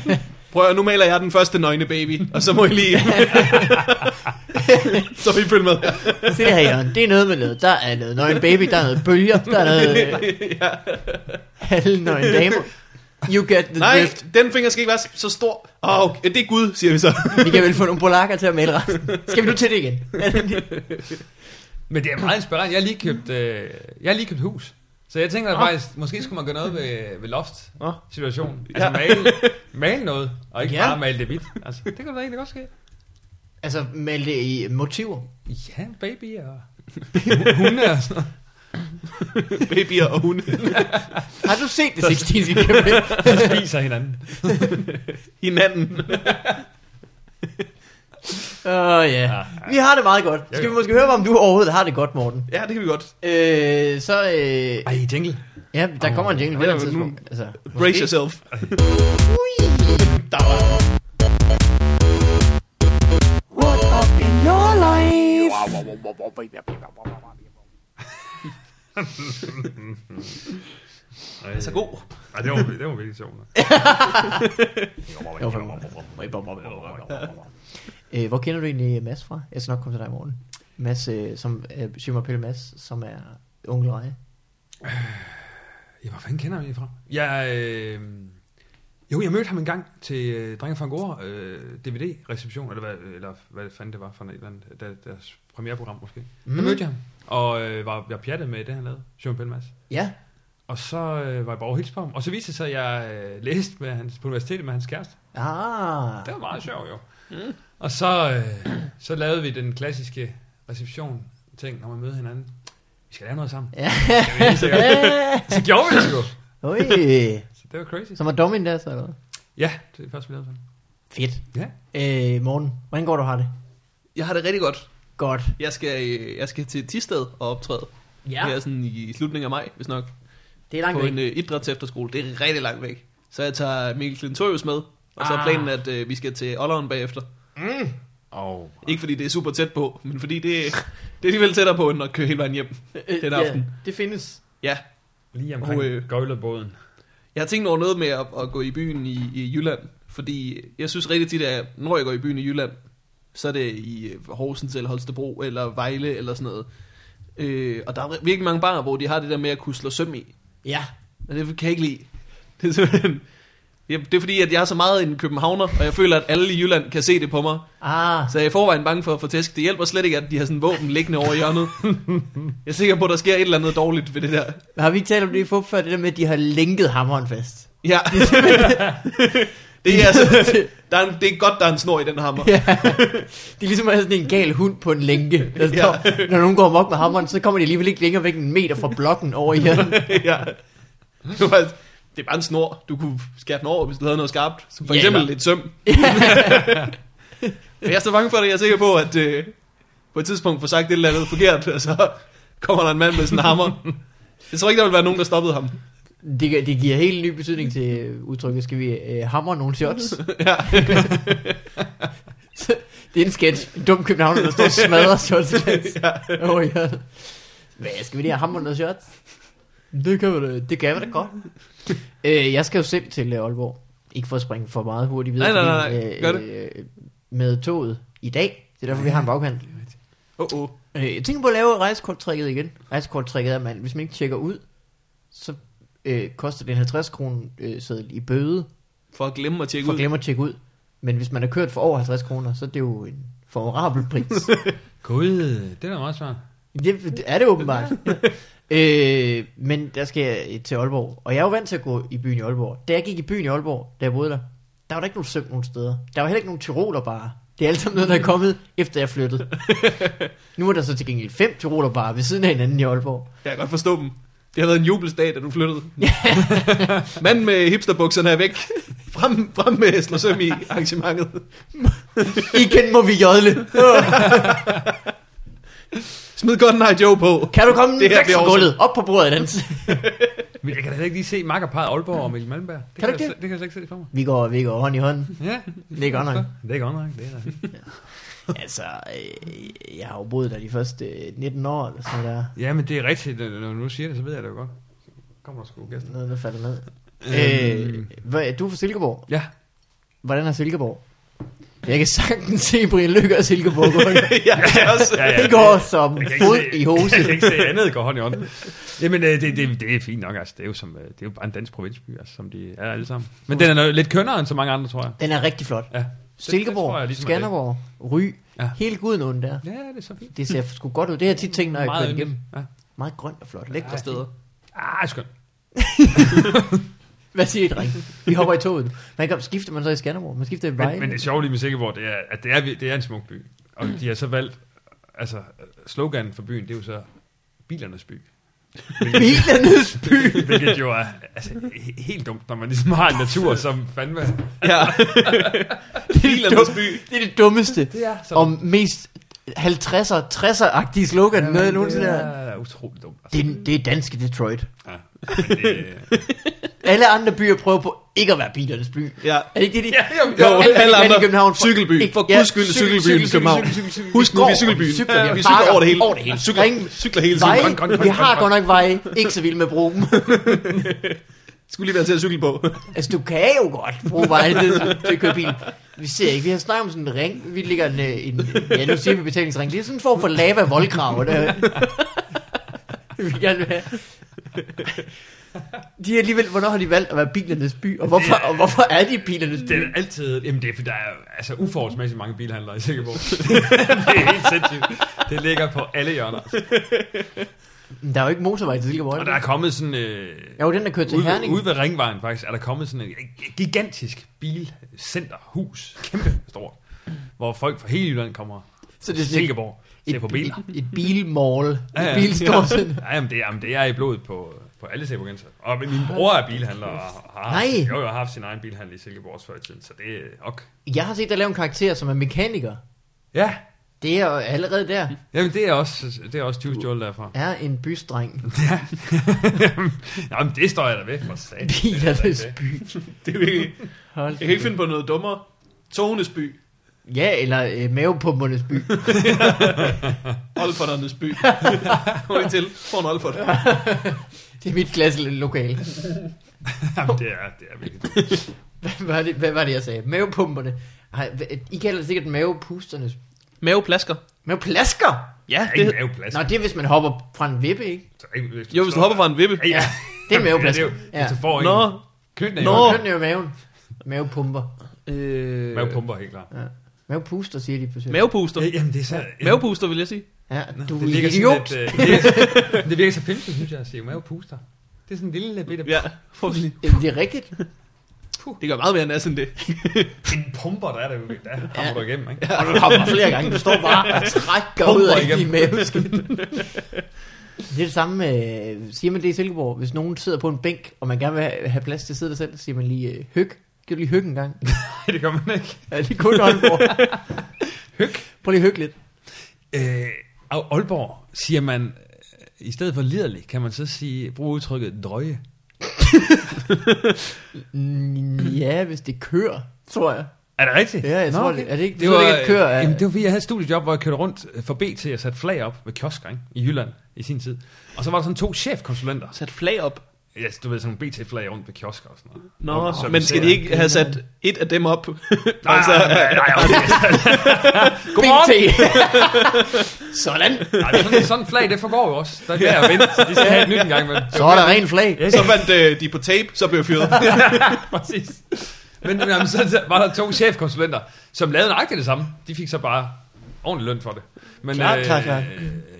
S1: Prøv at høre, nu maler jeg den første nøgne baby, og så må I lige... så må I følge med.
S2: Se her, Jørgen. Det er noget med noget. Der er noget nøgen baby, der er noget bølger, der er noget... Øh,
S1: ja.
S2: Alle nøgen damer. You get the
S1: Nej,
S2: drift.
S1: den finger skal ikke være så stor. Åh, oh, okay. det er Gud, siger vi så.
S2: Vi kan vel få nogle polakker til at male resten. Skal vi nu til det igen?
S3: Men det er meget inspirerende. Jeg har lige købt, øh, jeg har lige købt hus. Så jeg tænker at faktisk, måske skulle man gøre noget ved, ved
S1: Nå.
S3: loft-situationen.
S1: Ja.
S3: Altså male, male noget, og ikke
S2: Ja.
S3: bare male det hvidt. Altså, det kan da egentlig godt ske.
S2: altså, male det i motiver.
S3: Ja, baby og hunde og sådan noget.
S1: Babyer og hunde.
S2: Har du set det sextinske kæmpe?
S3: Så spiser hinanden.
S1: Hinanden.
S2: Åh, ja. Vi har det meget godt. Skal vi måske høre, om du overhovedet har det godt, Morten?
S1: Ja, det kan vi godt.
S2: Øh, så... Øh,
S3: Ej, jingle.
S2: ja, der kommer en jingle på
S1: Ja,
S2: et
S1: nu-
S2: tidspunkt. Altså, måske.
S1: Brace yourself. Der var
S4: What up in your life?
S3: Ej,
S1: så Altså, god.
S3: Ej, det var, det var virkelig sjovt.
S2: Jo, for- Øh, hvor kender du egentlig Mads fra? Jeg skal nok komme til dig i morgen. Mads, øh, som øh, Simon Pelle Mads, som er onkel Reje.
S3: Ja, hvor fanden kender jeg ham fra? Jeg, øh, jo, jeg mødte ham en gang til øh, Drenge fra Angora, øh, DVD-reception, eller hvad, eller hvad fanden det var for et eller andet, der, deres premiereprogram måske. Mm. Der mødte jeg ham, og øh, var, jeg pjattede med det, han lavede, Sjøen Pelmas.
S2: Ja,
S3: Og så øh, var jeg bare over at hilse på ham, og så viste det sig, at jeg øh, læste med hans, på universitetet med hans kæreste.
S2: Ah,
S3: Det var meget sjovt jo. Mm. Og så, øh, så lavede vi den klassiske reception-ting, når man møder hinanden. Vi skal lave noget sammen.
S2: Ja.
S3: Skal vi helt sikkert. så gjorde vi det sgu.
S2: Øj,
S3: Så det var crazy.
S2: som var Domin der, så eller hvad?
S3: Ja, det er først, vi lavede sådan.
S2: Fedt.
S3: Ja.
S2: Øh, morgen, hvordan går du har det?
S1: Jeg har det rigtig godt.
S2: Godt.
S1: Jeg skal, øh, jeg skal til Tisted og optræde.
S2: Ja,
S1: Det er sådan i slutningen af maj, hvis nok.
S2: det er langt
S1: På en
S2: væk.
S1: øh, idræts efterskole. Det er rigtig langt væk. Så jeg tager Mikkel Klintorius med. Og så er
S2: Ah.
S1: planen, at øh, vi skal til Olleren bagefter.
S3: Og
S1: Ikke fordi det er super tæt på, men fordi det, det er alligevel tættere på, end at køre hele vejen hjem den øh, aften.
S2: Øh, Ja, det findes.
S1: Ja,
S3: lige
S1: omkring
S3: omkring
S1: Og,
S3: og,
S1: øh,
S3: øh, gøjlerbåden.
S1: Jeg har tænkt over noget med at, at gå i byen i, i Jylland, fordi jeg synes rigtig tit, at når jeg går i byen i Jylland, så er det i øh, Horsens eller Holstebro eller Vejle eller sådan noget. Øh, og der er virkelig mange barer, hvor de har det der med at kunne slå søm i.
S2: Ja.
S1: Og det kan jeg ikke lide. Det er simpelthen... Ja, Det er fordi, at jeg er så meget en københavner, og jeg føler, at alle i Jylland kan se det på mig.
S2: Ah,
S1: Så jeg er i forvejen bange for at få tæsk. Det hjælper slet ikke, at de har sådan en våben liggende over hjørnet. Jeg er sikker på, at der sker et eller andet dårligt ved det der.
S2: har vi ikke talt om det i fup før, det der med, at de har lænket hammeren fast?
S1: Ja. det er altså, der er en, det er godt, der er en snor i den hammer.
S2: Ja. Det er ligesom at have sådan en gal hund på en lænke. Der
S1: Ja.
S2: står, ja. Når nogen går amok med hammeren, så kommer de alligevel ikke længere væk end en meter fra blokken over i hjørnet.
S1: ja. Det, var, det er bare en snor. Du kunne skære den over, hvis du havde noget skarpt. Som for
S2: Ja,
S1: eksempel
S2: eller-
S1: et søm. Men jeg er så bange for det, jeg er sikker på, at øh, på et tidspunkt får sagt et eller andet forkert, og så kommer der en mand med sådan en hammer. Jeg tror ikke, der vil være nogen, der stoppede ham.
S2: Det, gi- det giver helt ny betydning til øh, udtrykket, skal vi øh, hammer nogle shots?
S1: Ja.
S2: det er en sketch. En dum københavner, der står og smadrer shots. Åh oh, ja. Hvad, skal vi lige have hammer nogle shots? Det kan vi da, det kan vi da godt. øh, jeg skal jo selv til øh, Aalborg. Ikke for at springe for meget hurtigt videre.
S1: Nej, nej,
S2: fordi,
S1: nej, nej. Gør det.
S2: Øh, med toget i dag. Det er derfor, vi har en bagkant.
S1: Oh, oh.
S2: Øh, jeg tænker på at lave rejsekorttrækket igen. Rejsekorttrækket er, at man, hvis man ikke tjekker ud, så øh, koster det en 50 kroner øh, seddel i bøde,
S1: For at glemme at tjekke
S2: for at
S1: ud.
S2: glemme at tjekke ud. Men hvis man har kørt for over 50 kroner, så er det jo en favorabel pris.
S3: God, det er da meget svært.
S2: det, det er det åbenbart. øh, men der skal jeg øh, til Aalborg. Og jeg er jo vant til at gå i byen i Aalborg. Da jeg gik i byen i Aalborg, da jeg boede der, der var der ikke nogen søm nogen steder. Der var heller ikke nogen tyroler bare. Det er alt sammen noget, der er kommet, efter jeg flyttede. nu er der så til gengæld fem tyroler bare ved siden af hinanden i Aalborg.
S1: Jeg kan godt forstå dem. Det har været en jubelsdag, da du flyttede. Manden med hipsterbukserne er væk. Frem, frem med Slåsøm i arrangementet.
S2: Igen må vi jodle.
S1: Smid godt nej Joe på.
S2: Kan du komme
S1: Det
S2: det
S1: her,
S2: væk
S1: det er
S2: fra
S1: awesome.
S2: gulvet, op på bordet, dans?
S3: Men jeg kan da heller ikke lige se makkerparet Aalborg og Mikkel Malmberg. Det
S2: Kan
S3: kan,
S2: du
S3: jeg,
S2: ikke
S3: slet- det kan jeg slet ikke se for mig.
S2: Vi går, vi går hånd i hånd.
S3: Ja,
S2: Det er godt nok.
S3: det er godt nok. Det er da.
S2: Altså, øh, jeg har jo boet der de første øh, 19 år, eller sådan noget der.
S3: Ja, men det er rigtigt. Når du nu siger det, så ved jeg det jo godt. Kommer der sgu gæster.
S2: Noget, der falder ned.
S3: Øhm.
S2: Øh, hvad, du er fra Silkeborg.
S3: Ja,
S2: Hvordan er Silkeborg? Jeg kan sagtens se Brian Lykke og Silkeborg gå.
S1: ja, det er også.
S3: ja, ja.
S2: Det går som
S3: Jeg kan ikke
S2: fod
S3: se-
S2: i hose.
S3: Jeg kan ikke se andet går hånd i hånd. Jamen, øh, det, det, det er fint nok, altså. Det er jo, som, øh, det er jo bare en dansk provinsby, altså, som de er alle sammen. Men den er noget, lidt kønnere end så mange andre, tror jeg.
S2: Den er rigtig flot.
S3: Ja,
S2: Silkeborg,
S3: tror jeg
S2: jeg,
S3: ligesom er det.
S2: Skanderborg, Ry,
S3: Ja.
S2: ja. hele Gudenåen der.
S3: ja det er så fint.
S2: Det ser sgu godt ud. Det har jeg tit tænkt, når jeg kører
S3: yndigt.
S2: igennem.
S3: Ja.
S2: Meget grønt og flot. Lækre
S3: Ja,
S2: steder.
S3: Ah, skønt.
S2: Hvad siger I, dreng? Vi hopper i toget nu. Man kan, skifter man så i Skanderborg? Man skifter i Vejle?
S3: Men, men det sjove lige med Silkeborg, det er, at det er, vir- det er en smuk by. Og de har så valgt, altså, sloganen for byen, det er jo så bilernes by.
S2: Bilernes by!
S3: Hvilket jo er altså, he- helt dumt, når man ligesom har en natur, som fandme...
S1: Ja. Bilernes by.
S2: Det er det dummeste.
S3: Det er sådan.
S2: Og mest 50'er, 60'er-agtige slogan, noget jeg nogensinde
S3: det
S2: er.
S3: er utroligt dumt. Altså.
S2: Det er, det er danske Detroit.
S3: Ja. Men det,
S2: Alle andre byer prøver på ikke at være bilernes by.
S1: Ja.
S2: Er det ikke det, de...
S3: ja, jo,
S1: Jo,
S3: jo.
S2: Alt, hvad
S1: alle
S2: de kan i
S1: andre.
S2: København for-
S1: Cykelby.
S2: Ikke-
S1: For
S2: ja,
S1: guds skyld,
S2: cykel-
S1: cykelbyen i
S2: cykel-
S1: København.
S2: cykel- cykel- cykel- cykel-
S1: Husk nu,
S2: går,
S1: vi er cykelbyen.
S2: cykler,
S1: Vi
S2: bakker
S1: cykler over det hele.
S2: Over det hele.
S1: Cykler,
S2: Ring-
S1: cykler hele tiden.
S2: Veje,
S1: Grøn, grøn, grøn,
S2: vi har
S3: grøn,
S2: godt nok veje, ikke så vild med broen.
S1: Skulle lige være til at cykle på.
S2: altså, du kan jo godt bruge veje til, til at køre bil. Vi ser ikke, vi har snakket om sådan en ring, vi ligger en, øh, en ja, nu siger vi betalingsring, det er sådan en form for lava-voldgrav, der. vi gerne vil have. De er alligevel, hvornår har de valgt at være bilernes by, og hvorfor, og hvorfor er de bilernes by?
S3: det er altid... Jamen, det er, for der er altså, uforholdsmæssigt mange bilhandlere i Silkeborg. det er helt sindssygt. Det ligger på alle hjørner.
S2: Der er jo ikke motorvej til Silkeborg.
S3: Og der er kommet sådan... Øh,
S2: Jo, den der kører til
S3: ude,
S2: Herning.
S3: ved, ude ved Ringvejen faktisk, er der kommet sådan et gigantisk bilcenter, hus, kæmpe stort, hvor folk fra hele Jylland kommer
S2: Så
S3: så
S2: det er
S3: det
S2: sådan et-
S3: Silkeborg ser på biler.
S2: Et, et bilmall. Ja,
S3: Ja, ja.
S2: ja. Bilstorsen.
S3: Ja, jamen det, er, jamen, det er i blodet på, på alle Silkeborgenser. Og min bror er bilhandler og har,
S2: Nej.
S3: jo, jo, har haft sin egen bilhandel i Silkeborg også før i tiden, så det er ok.
S2: Jeg har set dig lave en karakter, som er mekaniker.
S3: Ja,
S2: Det er jo allerede der.
S3: jamen det er også, det er også 20 stjålet derfra.
S2: Er en bysdreng.
S3: jamen det står jeg da ved for satan.
S2: Bilernes by.
S1: Det er virkelig...
S2: Hold
S1: Jeg kan ikke finde på noget dummere. Togenes by.
S2: Ja, eller øh, mavepumpernes by.
S1: Olfordernes by. Hvor er det til? Få en Olfort.
S2: Det er mit klasse lokale.
S3: Jamen det er, det er virkelig dumt.
S2: Hvad var det, hvad var det jeg sagde? Mavepumperne. Ej, hvad- I kalder det sikkert mavepusternes.
S1: Maveplasker.
S2: Maveplasker!
S1: Ja,
S3: Der er
S1: det,
S3: ikke maveplads.
S2: Nå, det er, hvis man hopper fra en vippe, ikke?
S3: Så ikke- hvis
S1: jo, hvis du
S3: står-
S1: hopper fra en vippe.
S3: Ja, ja.
S2: Det er maveplads.
S3: Ja, det er jo,
S2: Ja.
S3: hvis du får en
S1: Nå,
S3: knytnæve.
S1: Nå.
S2: Nå. Kønnen er jo maven. Mavepumper.
S1: øh,
S3: Mavepumper, helt klart.
S2: Mavepuster, siger de på søg.
S1: mavepuster.
S3: jamen, det er så...
S1: Mavepuster, vil jeg sige.
S2: Ja, du
S3: det
S2: er
S3: virker sådan
S2: idiot.
S3: lidt, øh, det, virker, det virker så filmsen, synes jeg, at se mavepuster. Det er sådan en lille bitte...
S1: Ja, fuldstændig.
S2: Øh, Det er rigtigt.
S1: Det gør meget mere nas end det.
S3: En pumper, der er der jo. Der hammer
S2: Ja.
S3: du igennem, ikke?
S2: Og du kommer flere gange, du står bare og trækker ud
S3: Pumper
S2: af i
S3: igennem.
S2: maveskindet. Det er det samme med, siger man det i Silkeborg, hvis nogen sidder på en bænk, og man gerne vil ha- have plads til at sidde der selv, så siger man lige, øh, høg, kan du lige høgge en gang?
S3: det gør man ikke.
S2: Ja, det er kun Aalborg.
S3: Hyg.
S2: Prøv lige at hygge lidt.
S3: Øh, Au- Aalborg siger man, øh, i stedet for liderlig, kan man så sige, bruge udtrykket drøje.
S2: Mm, ja, hvis det kører, tror jeg.
S3: Er det rigtigt?
S2: Ja, jeg tror,
S3: okay.
S2: det- er det ikke- betyder det ikke, at køre er-
S3: Jamen, det var fordi, jeg havde et studiejob, hvor jeg kørte rundt øh, for BT og satte flag op ved kiosker ikke? i Jylland i sin tid. Og så var der sådan to chefkonsulenter.
S1: Sat flag op.
S3: Ja, yes, du ved, sådan nogle BT-flag rundt ved kiosker og sådan noget.
S1: Nå,
S3: Rundt og
S1: men skal de
S3: servicere.
S1: ikke have sat et af dem op?
S3: Nej,
S1: altså,
S3: nej, nej, nej, okay.
S2: BT!
S3: Godmorgen.
S2: Sådan.
S3: nej, men sådan, sådan et flag, det forgår jo også. Der er værd at vente, så de skal have et nyt engang. Men,
S2: Så er der ren flag.
S1: så vandt øh, de på tape, så blev jeg fyret.
S3: præcis. Men jamen, så var der to chefkonsulenter, som lavede nøjagtigt det samme. De fik så bare ordentlig løn for det. Men, øh,
S2: Klart, klart, klart.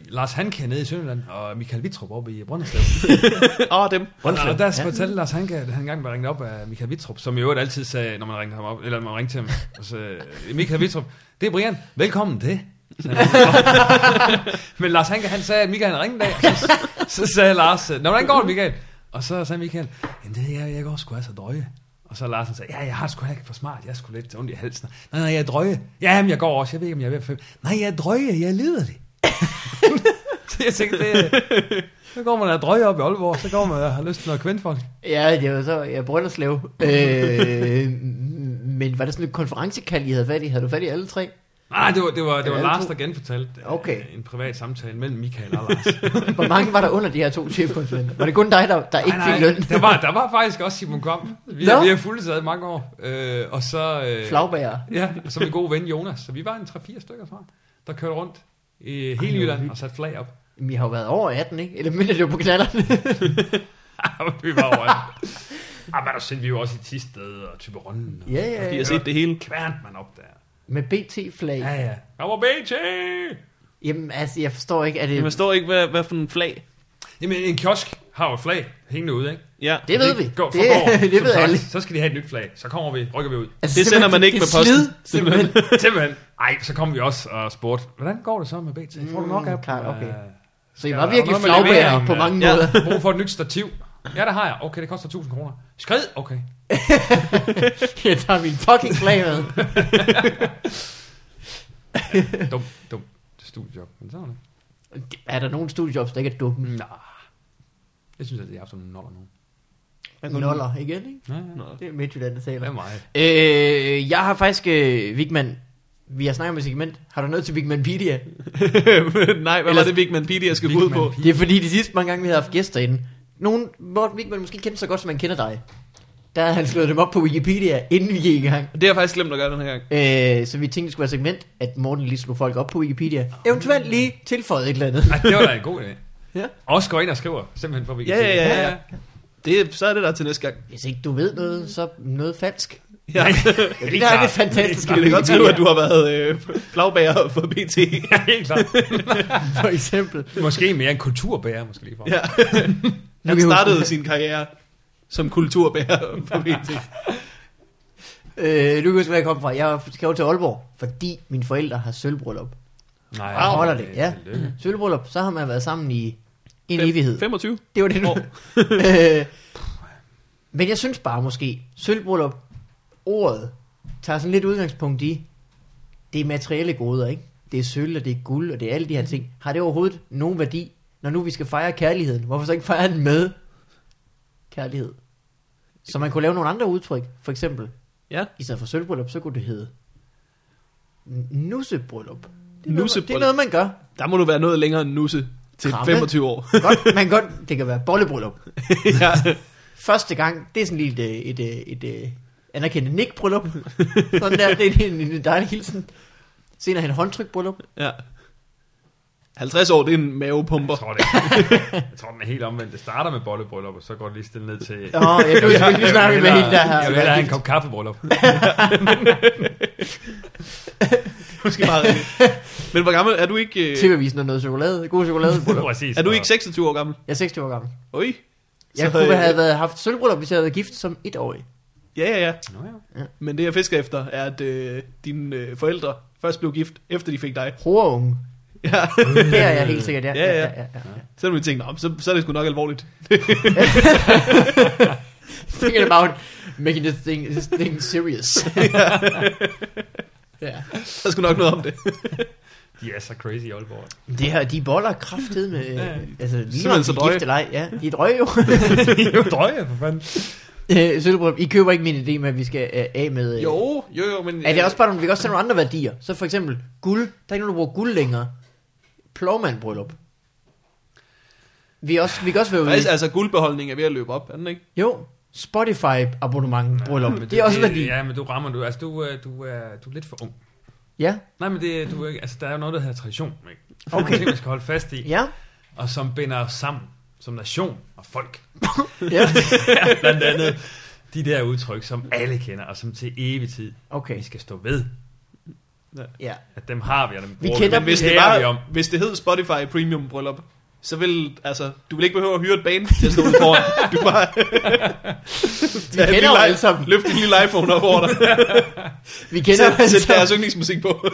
S3: Lars Hanke er nede i Sønderland, og Michael Vitrup oppe i Brønderslev.
S1: Åh, oh, dem.
S3: Og der, der
S2: Ja.
S3: fortalte Lars Hanke, at han engang var ringet op af Michael Vitrup, som i øvrigt altid sagde, når man ringte ham op, eller når man ringte til ham, og så, øh, Michael Vitrup, det er Brian, velkommen til. sagde han. Men Lars Hanke, han sagde, at Michael han ringede en dag, og så, så sagde Lars, øh, "Nå, hvordan går det, Michael? Og så sagde Michael, jamen det er jeg, jeg går sgu altså drøje. Og så Lars han sagde, ja, jeg har sgu da ikke for smart, jeg er sgu lidt ondt i halsen. Nej, nej, jeg er drøje. Ja, men jeg går også, jeg ved ikke, om jeg er ved at fem. Nej, jeg er drøje, jeg lider det. så jeg tænkte, det, så går man og drøje op i Aalborg, så går man og har lyst til noget kvindfolk.
S2: Ja, det var så, jeg brøllerslev. Øh, men var det sådan et konferencekald, I havde fat i? Havde du fat i alle tre?
S3: Nej, det var, det var, det var
S2: Ja,
S3: Lars,
S2: to.
S3: der genfortalte øh,
S2: Okay.
S3: en privat samtale mellem Michael og Lars. Ikke
S2: Hvor mange var der under de her to chefkonsulenter? Var det kun dig, der, der ikke fik løn?
S3: Der var, der var faktisk også Simon Kvam. Vi,
S2: Nå.
S3: vi har fulgt sig i mange år. Øh, og så... Øh,
S2: Flagbager.
S3: Ja, og så min gode ven Jonas. Så vi var en 3-4 stykker, tror jeg, der kørte rundt i hele Jylland og satte flag op.
S2: Jamen, I har jo været over 18, ikke? Eller mindre, det var på knallerne.
S3: vi var over. Ah, men der sendte vi jo også i Tisted og type Runden. Og
S2: ja, ja,
S1: De
S2: ja.
S1: har set det hele.
S3: kværnte man op der.
S2: Med BT-flag.
S3: Ja, ja. Kom og BT!
S2: Jamen, altså, jeg forstår ikke, at det...
S1: Jeg forstår ikke, hvad, hvad for en flag.
S3: Jamen, en kiosk har jo et flag hængende ude, ikke?
S1: Ja.
S2: Det ved vi.
S3: Altså, Går,
S2: det,
S3: forgår,
S2: det
S3: som
S2: ved
S3: sagt.
S2: alle.
S3: Så skal de have et nyt flag. Så kommer vi, rykker vi ud.
S2: Altså,
S1: Det sender man
S2: simpelthen,
S1: ikke
S2: det
S1: med posten.
S2: slid, Simpelthen.
S3: Simpelthen. Ej, så kom vi også og spurgte, hvordan går det så med BT? Får du nok af?
S2: Mm, klart, okay.
S3: Øh,
S2: Så I
S3: Ja,
S2: var
S3: og
S2: virkelig
S3: noget med
S2: flagbærer
S3: leveringen,
S2: på
S3: ja.
S2: mange
S1: Ja.
S2: måder.
S3: Brug for et nyt stativ. Ja, det har jeg. Okay, det koster 1000 kroner. Skrid, okay.
S2: Jeg tager min fucking flag med.
S3: Dum, dum. Det er studiejob. Men så var det.
S2: Er der nogen studiejobs, der ikke er dumme?
S3: Nå. Jeg synes, at det er aften noller nu.
S2: Noller igen, ikke?
S3: Ja, ja.
S2: Det er Midtjylland, der
S3: Det
S2: taler.
S3: er mig.
S2: Øh, jeg har faktisk, øh, Vigman, vi har snakket om et segment. Har du noget til Vigmanpedia?
S1: Nej, hvad var
S2: Ellers-
S1: det Vigman Pidi, jeg skulle gå ud på?
S3: Vigman
S2: Det er fordi, de sidste mange gange, vi havde haft gæster inde, nogen, hvor Vigman måske kendte så godt, som man kender dig. Der havde han slået dem op på Wikipedia, inden vi gik i gang.
S1: Det har jeg faktisk glemt at gøre den her gang.
S2: Øh, så vi tænkte, det skulle være et segment, at Morten lige slog folk op på Wikipedia. Eventuelt lige tilføjede et eller andet.
S3: Ej, det var da en god idé.
S2: Ja.
S3: Også går ind og skriver, simpelthen for vi kan
S1: Ja,
S3: se det.
S1: ja, ja, ja. Det, så er det der til næste gang.
S2: Hvis ikke du ved noget, så noget falsk.
S1: Ja.
S2: Ja, det,
S3: helt
S2: der er
S3: klart.
S2: det fantastiske.
S1: Kan det
S2: ved
S1: godt skrive, at
S2: Wikipedia,
S1: du har været øh, flagbager for BT?
S3: Ja, helt klart.
S2: For eksempel.
S3: Måske mere en kulturbærer, måske lige for.
S1: Ja. Han
S2: kan
S1: startede
S2: huske-
S1: sin karriere som kulturbærer for BT.
S2: Øh, du kan huske, hvor jeg kom fra. Jeg skal jo til Aalborg, fordi mine forældre har sølvbryllup.
S3: Nej, øh,
S2: Ah, holder det, ja.
S3: tillykke.
S2: Sølvbryllup, så har man været sammen i en evighed.
S1: 25?
S2: Det var det nu.
S1: År.
S2: øh, men jeg synes bare måske, sølvbryllup, ordet, tager sådan lidt udgangspunkt i, det er materielle goder, ikke? Det er sølv, og det er guld, og det er alle de her ting. Har det overhovedet nogen værdi, når nu vi skal fejre kærligheden? Hvorfor så ikke fejre den med kærlighed? Så man kunne lave nogle andre udtryk, for eksempel.
S1: Ja.
S2: I stedet for sølvbryllup, så kunne det hedde n- nussebryllup. Det er, noget,
S1: Nussebryllup.
S2: det er noget, man gør.
S1: Der må du være noget længere end nusse til
S2: Kramme.
S1: 25 år.
S2: Godt, man kan godt, det kan være bollebryllup.
S1: ja.
S2: første gang, det er sådan lige et, et, et, et, et anerkendende nik-bryllup. Sådan der, det er en, en, en dejlig hilsen. Senere hen håndtryk-bryllup.
S1: ja. 50 år, det er en mavepumper.
S3: Jeg tror, det jeg tror, den er helt omvendt. Det starter med bollebryllup, og så går det lige stille ned til...
S2: Åh, oh, jeg blev selvfølgelig lige snakket med hende, der
S3: Jeg vil hellere have en
S2: her.
S3: kop kaffebryllup.
S1: Måske meget rigtigt. Men hvor gammel er du ikke? øh,
S2: TV-avisen og noget chokolade. God chokolade.
S3: Præcis.
S1: Er du ikke 26 år gammel?
S2: Jeg er 26 år gammel.
S1: Oj.
S2: Jeg
S1: Så,
S2: kunne
S1: øh,
S2: have været, haft sølvbryllup, hvis jeg havde været gift som etårig.
S1: Ja, ja, ja.
S3: Nå, ja.
S1: Men det jeg fisker efter er, at øh, dine øh, forældre først blev gift, efter de fik dig.
S2: Horunge.
S1: Ja.
S2: Det er jeg helt sikkert, ja.
S1: Ja, ja.
S2: ja, ja.
S1: Selvom vi tænkte, "Nå, så, så er det sgu nok alvorligt.
S2: Thinking about making this thing, this thing serious. Ja.
S1: Der skulle nok noget om det.
S3: De er så crazy i Aalborg.
S2: Det her, de boller kraftet med...
S3: Ja.
S2: altså, lige
S1: Simpelthen
S2: om de
S1: så
S2: er
S1: drøje.
S2: gift eller ej. Ja, de er drøje jo.
S3: det er jo drøje, for fanden.
S2: Øh, Sølbrød, I køber ikke min idé med, at vi skal øh, af med... øh,
S1: jo, jo, jo, men...
S2: Er det også bare nogle, vi kan også tage nogle andre værdier. Så for eksempel guld. Der er ikke nogen, der bruger guld længere. Plovmandbryllup. Vi, er også, vi kan også være ude.
S1: Faktisk,
S2: i-
S1: altså guldbeholdning er ved at løbe op, er den ikke?
S2: Jo, Spotify abonnement bryllup.
S3: Men
S2: det, er også værdi. Ja.
S3: Ja, men du rammer du. Altså, du, øh, du, er, du er lidt for ung.
S2: ja.
S3: Nej, men det, du, er ikke- altså, der er jo noget, der hedder tradition. Ikke? Okay.
S2: Okay.
S3: Nogle ting, man skal holde fast i,
S2: Ja.
S3: og som binder os sammen som nation og folk.
S2: ja.
S3: Blandt andet de der udtryk, som alle kender, og som til evig tid,
S2: Okay.
S3: vi skal stå ved.
S2: Ja.
S3: At dem har vi, og dem bruger
S2: kender
S3: vi,
S2: dem.
S1: Hvis det,
S3: kærer vi om.
S1: var, hvis det hed Spotify Premium Bryllup, så vil, altså, du vil ikke behøve at hyre et band til at stå ude foran. Du kan bare...
S2: Vi kender jo alle sammen.
S1: Løft din lille iPhone op over dig.
S2: Vi kender altså- jo
S1: Sæt,
S2: alle
S1: sæt deres
S2: sammen.
S1: yndlingsmusik på.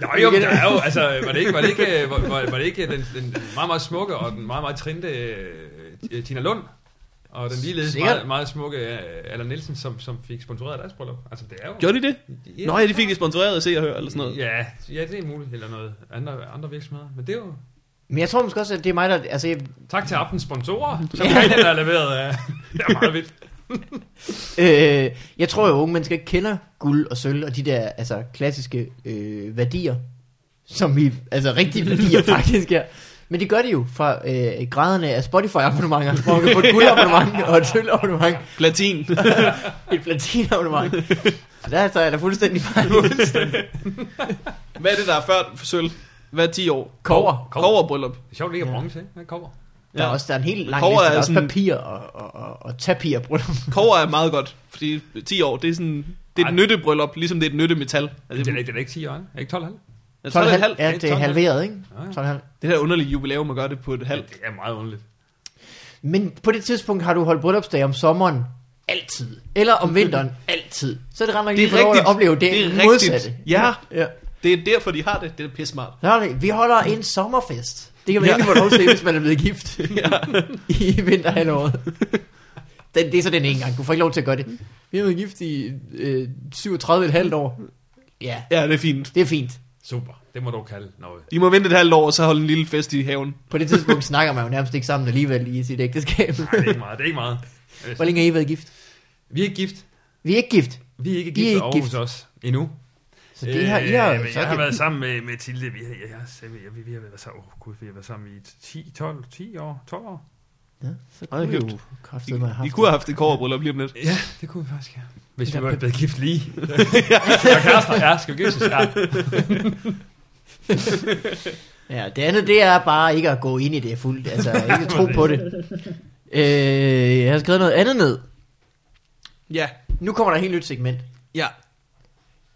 S3: Nå jo, men der er jo, altså, var det ikke, var det ikke, øh, var, var, var det ikke den, den meget, meget smukke og den meget, meget trinte øh, Tina Lund? Og den ligeledes
S2: Sikkert.
S3: meget, meget smukke øh, Allan Nielsen, som, som fik sponsoreret deres bryllup. Altså, det er jo...
S1: Gjorde de det?
S3: Ja.
S1: Nå ja, de fik det sponsoreret at se og høre, eller sådan noget.
S3: Ja, ja, det er muligt, eller noget. Andre, andre virksomheder. Men det er jo...
S2: Men jeg tror måske også, at det er mig, der... Altså, jeg-
S3: Tak til aftens sponsorer, som han der har leveret. øh. Det er meget vildt.
S2: øh, jeg tror jo, at unge mennesker ikke kender guld og sølv og de der altså, klassiske øh, værdier. Som vi... Altså rigtige værdier faktisk er. Men det gør de jo fra øh, graderne af Spotify-abonnementer, hvor man kan få et guldabonnement og et sølvabonnement,
S1: Platin.
S2: et platinabonnement. Så der tager jeg da fuldstændig fejl.
S1: Hvad er det, der er før sølv? Hvad er 10 år?
S2: Kover.
S3: Kov.
S1: Koverbryllup.
S3: Det er sjovt, det ikke er bronze, ikke? Hvad kommer?
S2: Der er
S1: Ja.
S2: også der er en helt lang
S1: Kobber
S2: liste. Der
S1: er
S2: er også
S1: sådan-
S2: papir og, og, og, og tapir.
S1: Kover er meget godt, fordi 10 år, det er sådan... Det er
S3: Ej.
S1: et nyttebryllup, ligesom det er et nyttemetal.
S3: Det
S1: Altså,
S3: er da ikke, det er da ikke 10 år, ikke? Er det ikke 12 halv?
S1: jeg tror, det er et halvt.
S2: 12,5. Ja, det er
S3: 12,5.
S2: halveret, ikke?
S3: Ja, ja.
S2: 12,5.
S1: Det her underlige jubilæum at gøre det på et halvt.
S3: Det er meget underligt.
S2: Men på det tidspunkt har du holdt bryllupsdag om sommeren. Altid. Eller om vinteren. Altid. Så er det ret nok
S1: Det er
S2: lige for lov at
S1: rigtigt.
S2: opleve det,
S1: Det er rigtigt.
S2: modsatte.
S1: Ja.
S2: ja.
S1: Det er derfor, de har det. Det er pisse smart.
S2: Så er det, vi holder en sommerfest. Det kan man
S1: Ja.
S2: ja. ikke få lov til, hvis man er blevet gift. I vinterhalvåret. Det, det er så den ene gang. Du får ikke lov til at gøre det. Vi har været gift i øh, 37,5 år. Ja,
S1: Ja, det er fint.
S2: det er fint.
S3: Super. Det må du kalde noget.
S1: De må vente et halvt år, og så holde en lille fest i haven.
S2: På det tidspunkt snakker man jo nærmest ikke sammen alligevel i sit ægteskab.
S3: Nej, det er ikke meget. Det er ikke meget.
S2: Hvor længe har I været gift?
S3: Vi er ikke gift.
S2: Vi er ikke gift.
S3: Vi er ikke
S2: I er
S3: gift
S2: ikke
S3: for Aarhus
S2: gift.
S3: også. Endnu.
S2: Så det her, I har...
S3: Øh, men
S2: så
S3: jeg har
S2: kan-
S3: været sammen med, med Tilde. Vi har, jeg, har, jeg, jeg, vi, vi har været sammen, oh, Gud, vi har været sammen i 10, 12, 10 år, 12 år.
S2: Ja, så
S1: Ej,
S2: kunne vi
S1: hyggeligt.
S2: jo kraftede mig
S1: De
S2: haft.
S1: kunne have haft et kårebryllup lige om lidt.
S3: Ja, det kunne vi faktisk, ja. Hvis
S2: Der
S3: vi var
S2: blev-
S3: blevet gift lige. ja, kærester, ja, skal vi giftes? Ja.
S2: Ja, det andet, det er bare ikke at gå ind i det fuldt. Altså, ikke tro på det. Øh, jeg har skrevet noget andet ned.
S1: Ja.
S2: Nu kommer der et helt nyt segment.
S1: Ja.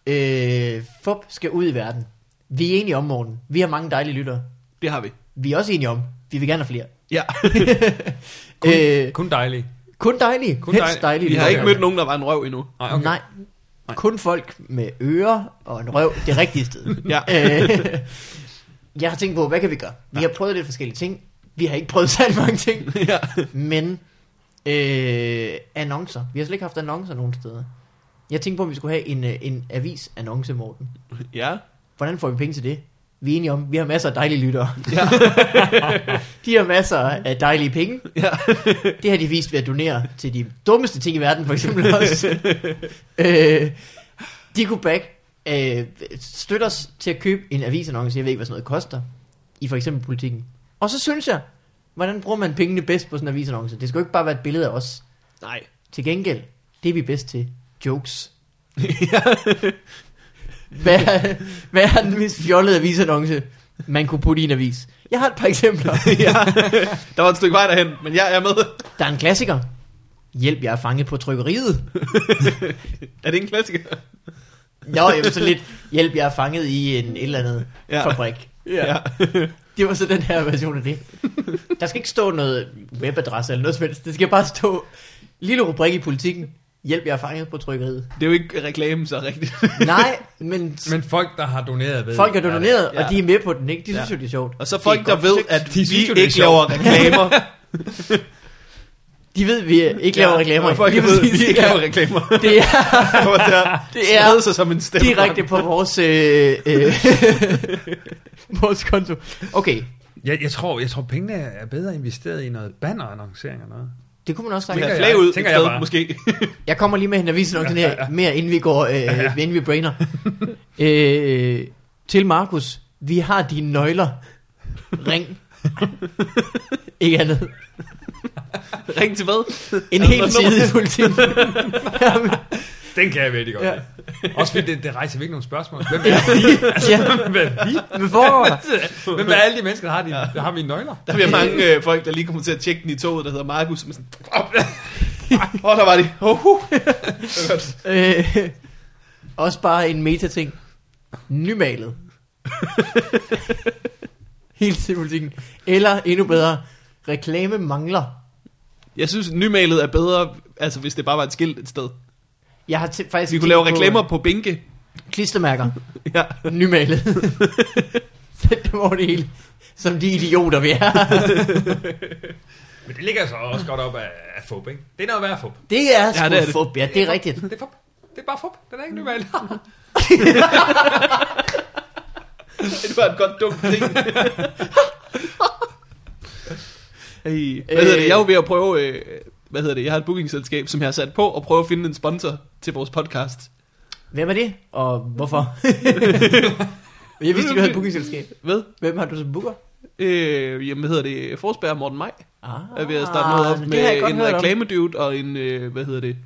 S2: Øh, FUP skal ud i verden. Vi er enige om morgen. Vi har mange dejlige lyttere.
S1: Det har vi.
S2: Vi er også enige om, vi vil gerne have flere.
S1: Ja.
S2: Kun, øh,
S3: Kun dejligt.
S2: kun dejlige.
S3: kun
S2: Kun dejlige.
S3: dejlige.
S2: dejlige
S1: Vi har
S2: lyttere.
S1: ikke mødt nogen, der var en røv endnu.
S3: Nej,
S2: Okay.
S3: okay.
S2: Nej.
S3: Nej.
S2: Kun folk med ører og en røv, det rigtige sted.
S1: Ja.
S2: Øh, jeg har tænkt på, hvad kan vi gøre? Vi har prøvet lidt forskellige ting. Vi har ikke prøvet særlig mange ting.
S1: ja.
S2: Men øh, annoncer. Vi har slet ikke haft annoncer nogen steder. Jeg tænkte på, om vi skulle have en, øh, en avis-annonce, Morten.
S1: Ja.
S2: Hvordan får vi penge til det? Vi er enige om, vi har masser af dejlige lyttere.
S1: Ja.
S2: De har masser af dejlige penge.
S1: Ja.
S2: Det har de vist ved at donere til de dummeste ting i verden, for eksempel også. øh, de kunne back øh, støtter os til at købe en avisannonce, jeg ved ikke, hvad sådan noget koster, i for eksempel politikken. Og så synes jeg, hvordan bruger man pengene bedst på sådan en avisannonce? Det skal jo ikke bare være et billede af os.
S1: Nej.
S2: Til gengæld, det er vi bedst til. Jokes. hvad, er, hvad er den mest fjollede avisannonce, man kunne putte i en avis? Jeg har et par eksempler.
S1: ja. Der var et stykke vej derhen, men jeg er med.
S2: Der er en klassiker. Hjælp, jeg er fanget på trykkeriet.
S1: Er det en klassiker?
S2: Nå, jamen så lidt. Hjælp, jeg er fanget i en et eller andet
S1: Ja.
S2: ja. fabrik.
S1: Ja.
S2: Det var så den her version af det. Der skal ikke stå noget webadresse eller noget som helst. Det skal bare stå lille rubrik i politikken. Hjælp, jeg er fanget på trykkeriet.
S1: Det er jo ikke reklame så rigtigt.
S2: Nej, men,
S3: Men folk, der har doneret ved...
S2: folk er doneret,
S1: Ja.
S2: og de er med på den, ikke? De synes
S1: Ja.
S2: jo, det er sjovt.
S1: Og så
S2: Det er
S1: folk, der
S2: godt
S1: ved,
S2: forsøgt.
S1: at
S3: De
S1: vi
S3: synes jo, det er
S1: ikke laver reklamer.
S2: De ved, vi øh, ikke laver
S1: Ja,
S2: reklamer.
S1: og folk
S2: Lige
S1: ved,
S2: præcis,
S1: vi ikke
S2: ja.
S1: laver reklamer.
S2: Det er
S1: Hvor det er,
S2: Det er
S1: spredt sig som en stemme.
S2: direkte på vores, øh, øh, vores konto. Okay,
S3: Jeg, jeg, tror, jeg tror, pengene er bedre investeret i noget banner-annoncering eller noget.
S2: det kunne man også
S1: Tænker jeg,
S2: snakke om.
S1: flag ud
S3: tænker
S1: et
S3: jeg
S1: sted,
S3: bare.
S1: måske.
S2: Jeg kommer lige med en avis nok den her, mere inden vi går, øh, inden vi brainer. øh, til Markus, vi har dine nøgler. Ring. Ikke andet.
S1: Ring til hvad?
S2: En
S1: Altså,
S2: hel
S1: nummer-
S2: side i politikken. Jamen,
S3: Den kan jeg vældig godt.
S2: Ja.
S3: Ja. Også fordi det, det rejser virkelig nogle spørgsmål. Hvem er vi?
S2: ja,
S3: Hvem er vi?
S2: hvad foregår der?
S3: Hvem er alle de mennesker, der har, de, der har mine nøgler?
S1: Der bliver mange øh, folk, der lige kommer til at tjekke den i toget, der hedder Markus. Som er sådan, Åh, oh, der var de. Oh, uh.
S2: Øh, også bare en metating. Nymalet. Helt til politikken. Eller endnu bedre, reklame mangler.
S1: Jeg synes, nymalet er bedre, altså hvis det bare var et skilt et sted.
S2: Jeg har tæ- faktisk
S1: Vi kunne
S2: tænkt
S1: lave
S2: på- øh,
S1: reklamer på bænke.
S2: Klistermærker.
S1: Ja.
S2: Nymalet. Sæt dem over det hele. Som de idioter, vi er.
S3: Men det ligger så også godt op af, af fup, ikke? Det er noget værd fup.
S2: Det er sgu ja,
S1: det er det.
S2: fup, ja, det er rigtigt.
S3: Det er fup. Det er bare fup. Den er ikke ny valg.
S1: Det var et godt dumt ting. hey. Hvad hedder det? Jeg er jo ved at prøve... Øh, hvad hedder det? Jeg har et bookingselskab, som jeg har sat på og prøve at finde en sponsor til vores podcast.
S2: Hvem er det, og hvorfor? Jeg vidste, ikke, du havde et bookingselskab.
S1: Ved?
S2: Hvem har du som booker?
S1: Øh, jamen, hvad hedder det? Forsberg og Morten Maj
S2: Ah,
S1: er ved at starte noget op
S2: det
S1: med
S2: har jeg godt
S1: en
S2: hørt om.
S1: reklamedude og en, øh, hvad hedder det?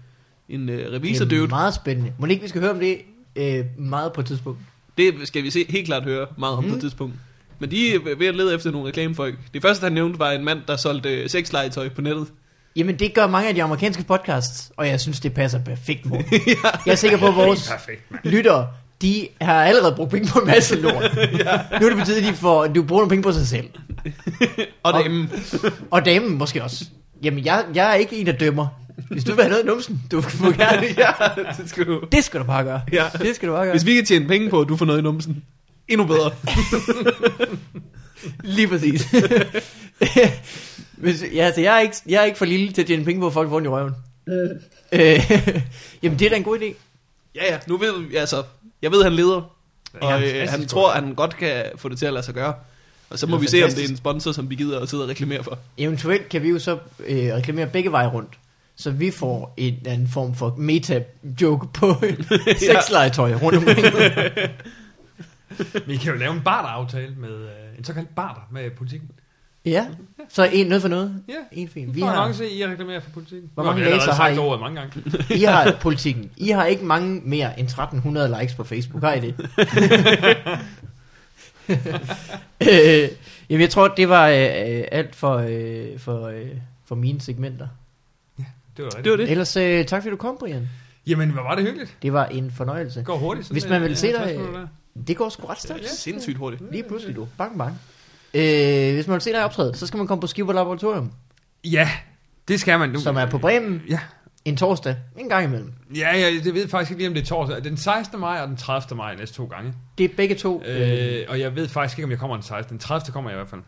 S1: En øh,
S2: Det er
S1: revisordude.
S2: meget spændende. Må ikke vi skal høre om det øh, meget på et tidspunkt?
S1: Det skal vi se helt klart høre meget om mm. på et tidspunkt. Men de er ved at lede efter nogle reklamefolk. Det første, han nævnte, var en mand, der solgte øh, sexlegetøj på nettet.
S2: Jamen det gør mange af de amerikanske podcasts, og jeg synes det passer perfekt, Morten. Jeg er sikker på, at vores
S3: Perfekt, mand.
S2: lyttere, de har allerede brugt penge på en masse lort. Nu er det på tide, de får, du bruger nogle penge på sig selv.
S1: Og
S2: Og-
S1: det, mm,
S2: Og damen måske også. Jamen jeg, jeg er ikke en, der dømmer. Hvis du vil have noget i numsen, du må gerne.
S1: ja, det skal du.
S2: Det skal du bare gøre.
S1: Ja.
S2: Det skal du bare gøre.
S1: Hvis vi kan tjene penge på, at du får noget i numsen, endnu bedre.
S2: Lige præcis. Hvis, ja, altså, jeg, er ikke, jeg er ikke for lille til at tjene penge på, at folk får den i røven. Øh, jamen, det er da en god idé.
S1: ja, ja, nu ved vi, altså, jeg ved, han leder. Og øh, han
S3: Ja, fantastisk,
S1: tror, at han godt kan få det til at lade sig gøre. Og så må
S2: lyder
S1: vi se, om det er
S2: fantastisk.
S1: en sponsor, som vi gider at sidde og reklamere for.
S2: Eventuelt kan vi jo så øh, reklamere begge veje rundt. Så vi får en eller anden form for meta-joke på sexlegetøj rundt omkring.
S3: Vi kan jo lave en barter-aftale med øh, en såkaldt barter med politikken.
S2: ja, så en noget for noget.
S3: Ja.
S2: En for en.
S3: Vi
S2: Vi
S3: får har
S2: har,
S3: nok se, I reklamerer for politikken.
S2: Hvor
S3: Nu
S2: mange
S3: vi allerede
S2: læsere har
S3: sagt
S2: I?
S3: ordet mange gange.
S2: I har politikken. I har ikke mange mere end 1300 likes på Facebook, har I det? øh, jamen, jeg tror, det var øh, øh, alt for, øh, for, øh, for mine segmenter.
S3: Det var rigtigt.
S1: Det var det.
S2: Ellers øh, tak, fordi du kom, Brian.
S3: Jamen, hvor var det hyggeligt.
S2: Det var en fornøjelse.
S3: Det går hurtigt. sådan
S2: Hvis
S3: en-
S2: man vil
S3: en
S2: se dig, øh,
S3: 50 minutter.
S2: Det går sgu ret stærkt.
S1: Ja. Sindssygt hurtigt.
S2: Lige pludselig, du. Bang, bang. Øh, hvis man vil se dig optræde, så skal man komme på Skiver Laboratorium,
S3: Ja, det skal man nu.
S2: som er på Bremen
S3: Ja.
S2: en torsdag, en gang imellem.
S3: Ja, ja, det ved jeg faktisk ikke lige, om det er torsdag. Den 16. maj og den 30. maj næste to gange.
S2: Det er begge to. Øh,
S3: Øh, og jeg ved faktisk ikke, om jeg kommer den 16. Den 30. kommer jeg i hvert fald.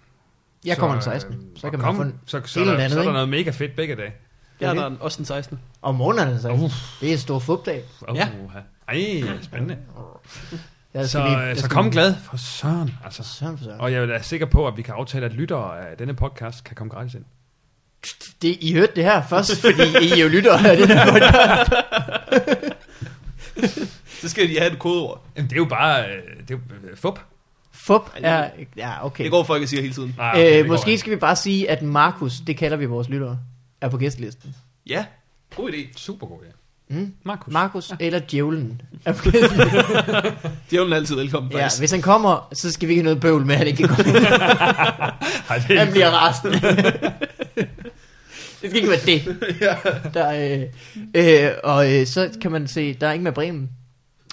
S2: jeg kommer den
S3: Så, øh,
S2: 16. Så
S3: og
S2: kan man få
S3: kom,
S2: en
S3: så, så,
S2: et
S3: der,
S2: eller andet,
S3: så er der
S2: ikke?
S3: noget mega fedt begge dage.
S1: Ja,
S2: det.
S1: der er en- også den 16.
S2: Om morgenen, så. Det er en stor fupdag.
S3: Oh,
S1: Ja.
S3: ja. Ej, spændende.
S2: Jeg
S3: Så, øh, så kom glad for søren. Altså.
S2: Søren for søren.
S3: Og jeg er da sikker på, at vi kan aftale, at lyttere af denne podcast kan komme gratis ind.
S2: Det, I hørte det her først, fordi I er jo lytter af det der podcast.
S1: Så skal de have et kodeord.
S3: Jamen, det er jo bare øh, det er jo, øh, fup.
S2: Fup er... Ja, okay.
S1: Det går folk og siger hele tiden.
S3: Nej, okay,
S2: Øh,
S3: det går
S2: måske
S3: ikke.
S2: skal vi bare sige, at Markus, det kalder vi vores lyttere, er på gæstelisten.
S1: Ja, god idé.
S3: Super god, ja.
S2: Mm.
S3: Markus.
S2: Markus eller Djævlen er på gæstelisten.
S1: Djævlen er altid velkommen,
S2: ja,
S1: faktisk.
S2: hvis han kommer, så skal vi ikke have noget bøvl med, at han ikke kan komme.
S3: Ej, det er
S2: Han bliver rasende. det skal ikke være det. Der, er, øh, øh, og øh, så kan man se, der er ingen med Bremen.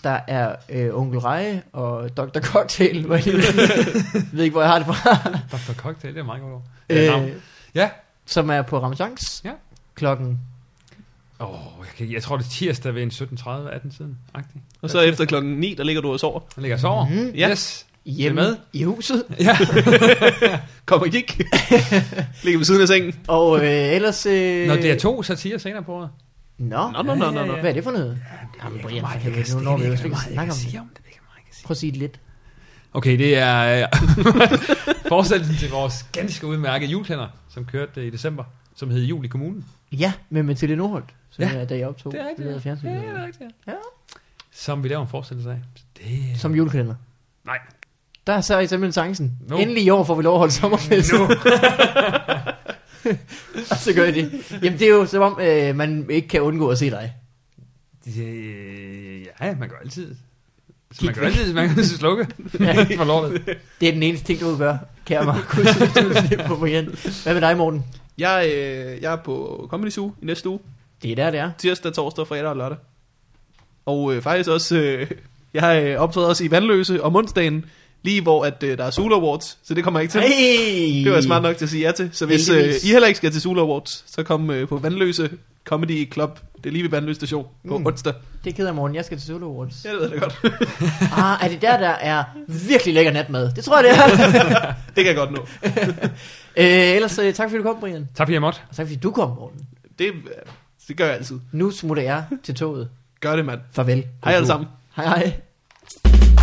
S2: Der er øh, Onkel Reje og Dr. Cocktail. Hvor jeg lige ved ikke, hvor jeg har det fra.
S3: Dr. Cocktail, det er meget godt ord. Ja, navn.
S2: Øh,
S3: Ja.
S2: Som er på Ramachanks.
S3: Ja.
S2: Klokken.
S3: Åh, jeg, kan, ikke- jeg tror, det er tirsdag ved en 17.30-18 siden. Agtig.
S1: Og så efter klokken 9, der ligger du og sover.
S3: Jeg ligger og sover.
S2: Mhm.
S3: Yes.
S2: hjemme
S3: med?
S2: i huset.
S1: Kom og gik. Ligger ved siden af sengen.
S2: Og øh, ellers... Øh,
S3: Når det er to satire senere på året.
S2: Nå,
S1: Nå, nå, nå, nå, nå.
S2: hvad er det for noget? Jamen, Brian, for helvede, nu når vi jo ikke at snakke om det.
S3: om det.
S2: Prøv at sige det lidt.
S3: Okay, det er øh, fortsættelsen til vores ganske udmærkede juleklænder, som kørte øh, i december, som hed Jul i kommunen.
S2: Ja, med Mathilde Nordholt, som
S3: Ja,
S2: ja, jeg, da jeg optog.
S3: det er rigtigt.
S2: Det fjernsyn,
S3: Ja, det er rigtigt.
S2: Ja.
S3: Som vi laver en forestillelse af. Det...
S2: Som julekalender.
S3: Nej.
S2: Der så I simpelthen chancen.
S3: Nu.
S2: No. Endelig i år får vi lov at holde sommerfest. No. og så gør I det. Jamen det er jo som om, øh, man ikke kan undgå at se dig.
S3: Øh, Ja, man gør altid. Så
S2: Kig
S3: man gør
S2: væk.
S3: altid, man kan altid slukke
S2: Ja.
S3: for lortet.
S2: Det er den eneste ting, du kan gøre, kære Markus. hvis du vil slippe på Brian. Hvad med dig, Morten?
S1: Jeg, øh, jeg er på Comedy Zoo i næste uge.
S2: Det er der, det er.
S1: Tirsdag, torsdag, fredag og lørdag. Og øh, faktisk også, øh, jeg øh, optræder også i Vandløse om onsdagen, lige hvor at, øh, der er Sula Awards, så det kommer jeg ikke til.
S2: Hey!
S1: Det var jeg smart nok til at sige ja til. Så hvis øh,
S2: Heldigvis.
S1: I heller ikke skal til Sula Awards, så kom øh, på Vandløse Comedy Club. Det er lige ved Vandløse Station på
S2: Mm.
S1: mm. onsdag.
S2: Det keder Morten, jeg skal til Solo Awards.
S1: Ja, det ved jeg da godt.
S2: Ah, er det der, der er virkelig lækker natmad? Det tror jeg, det er.
S1: det kan jeg godt nå.
S2: øh, ellers øh, tak fordi du kom, Brian.
S3: Tak, Pia Mott.
S2: Og tak fordi du kom, Morten.
S1: Det, øh, det gør jeg altid.
S2: Nu smutter jeg til toget.
S1: Gør det, mand.
S2: Farvel.
S1: Hej alle sammen.
S2: Hej hej.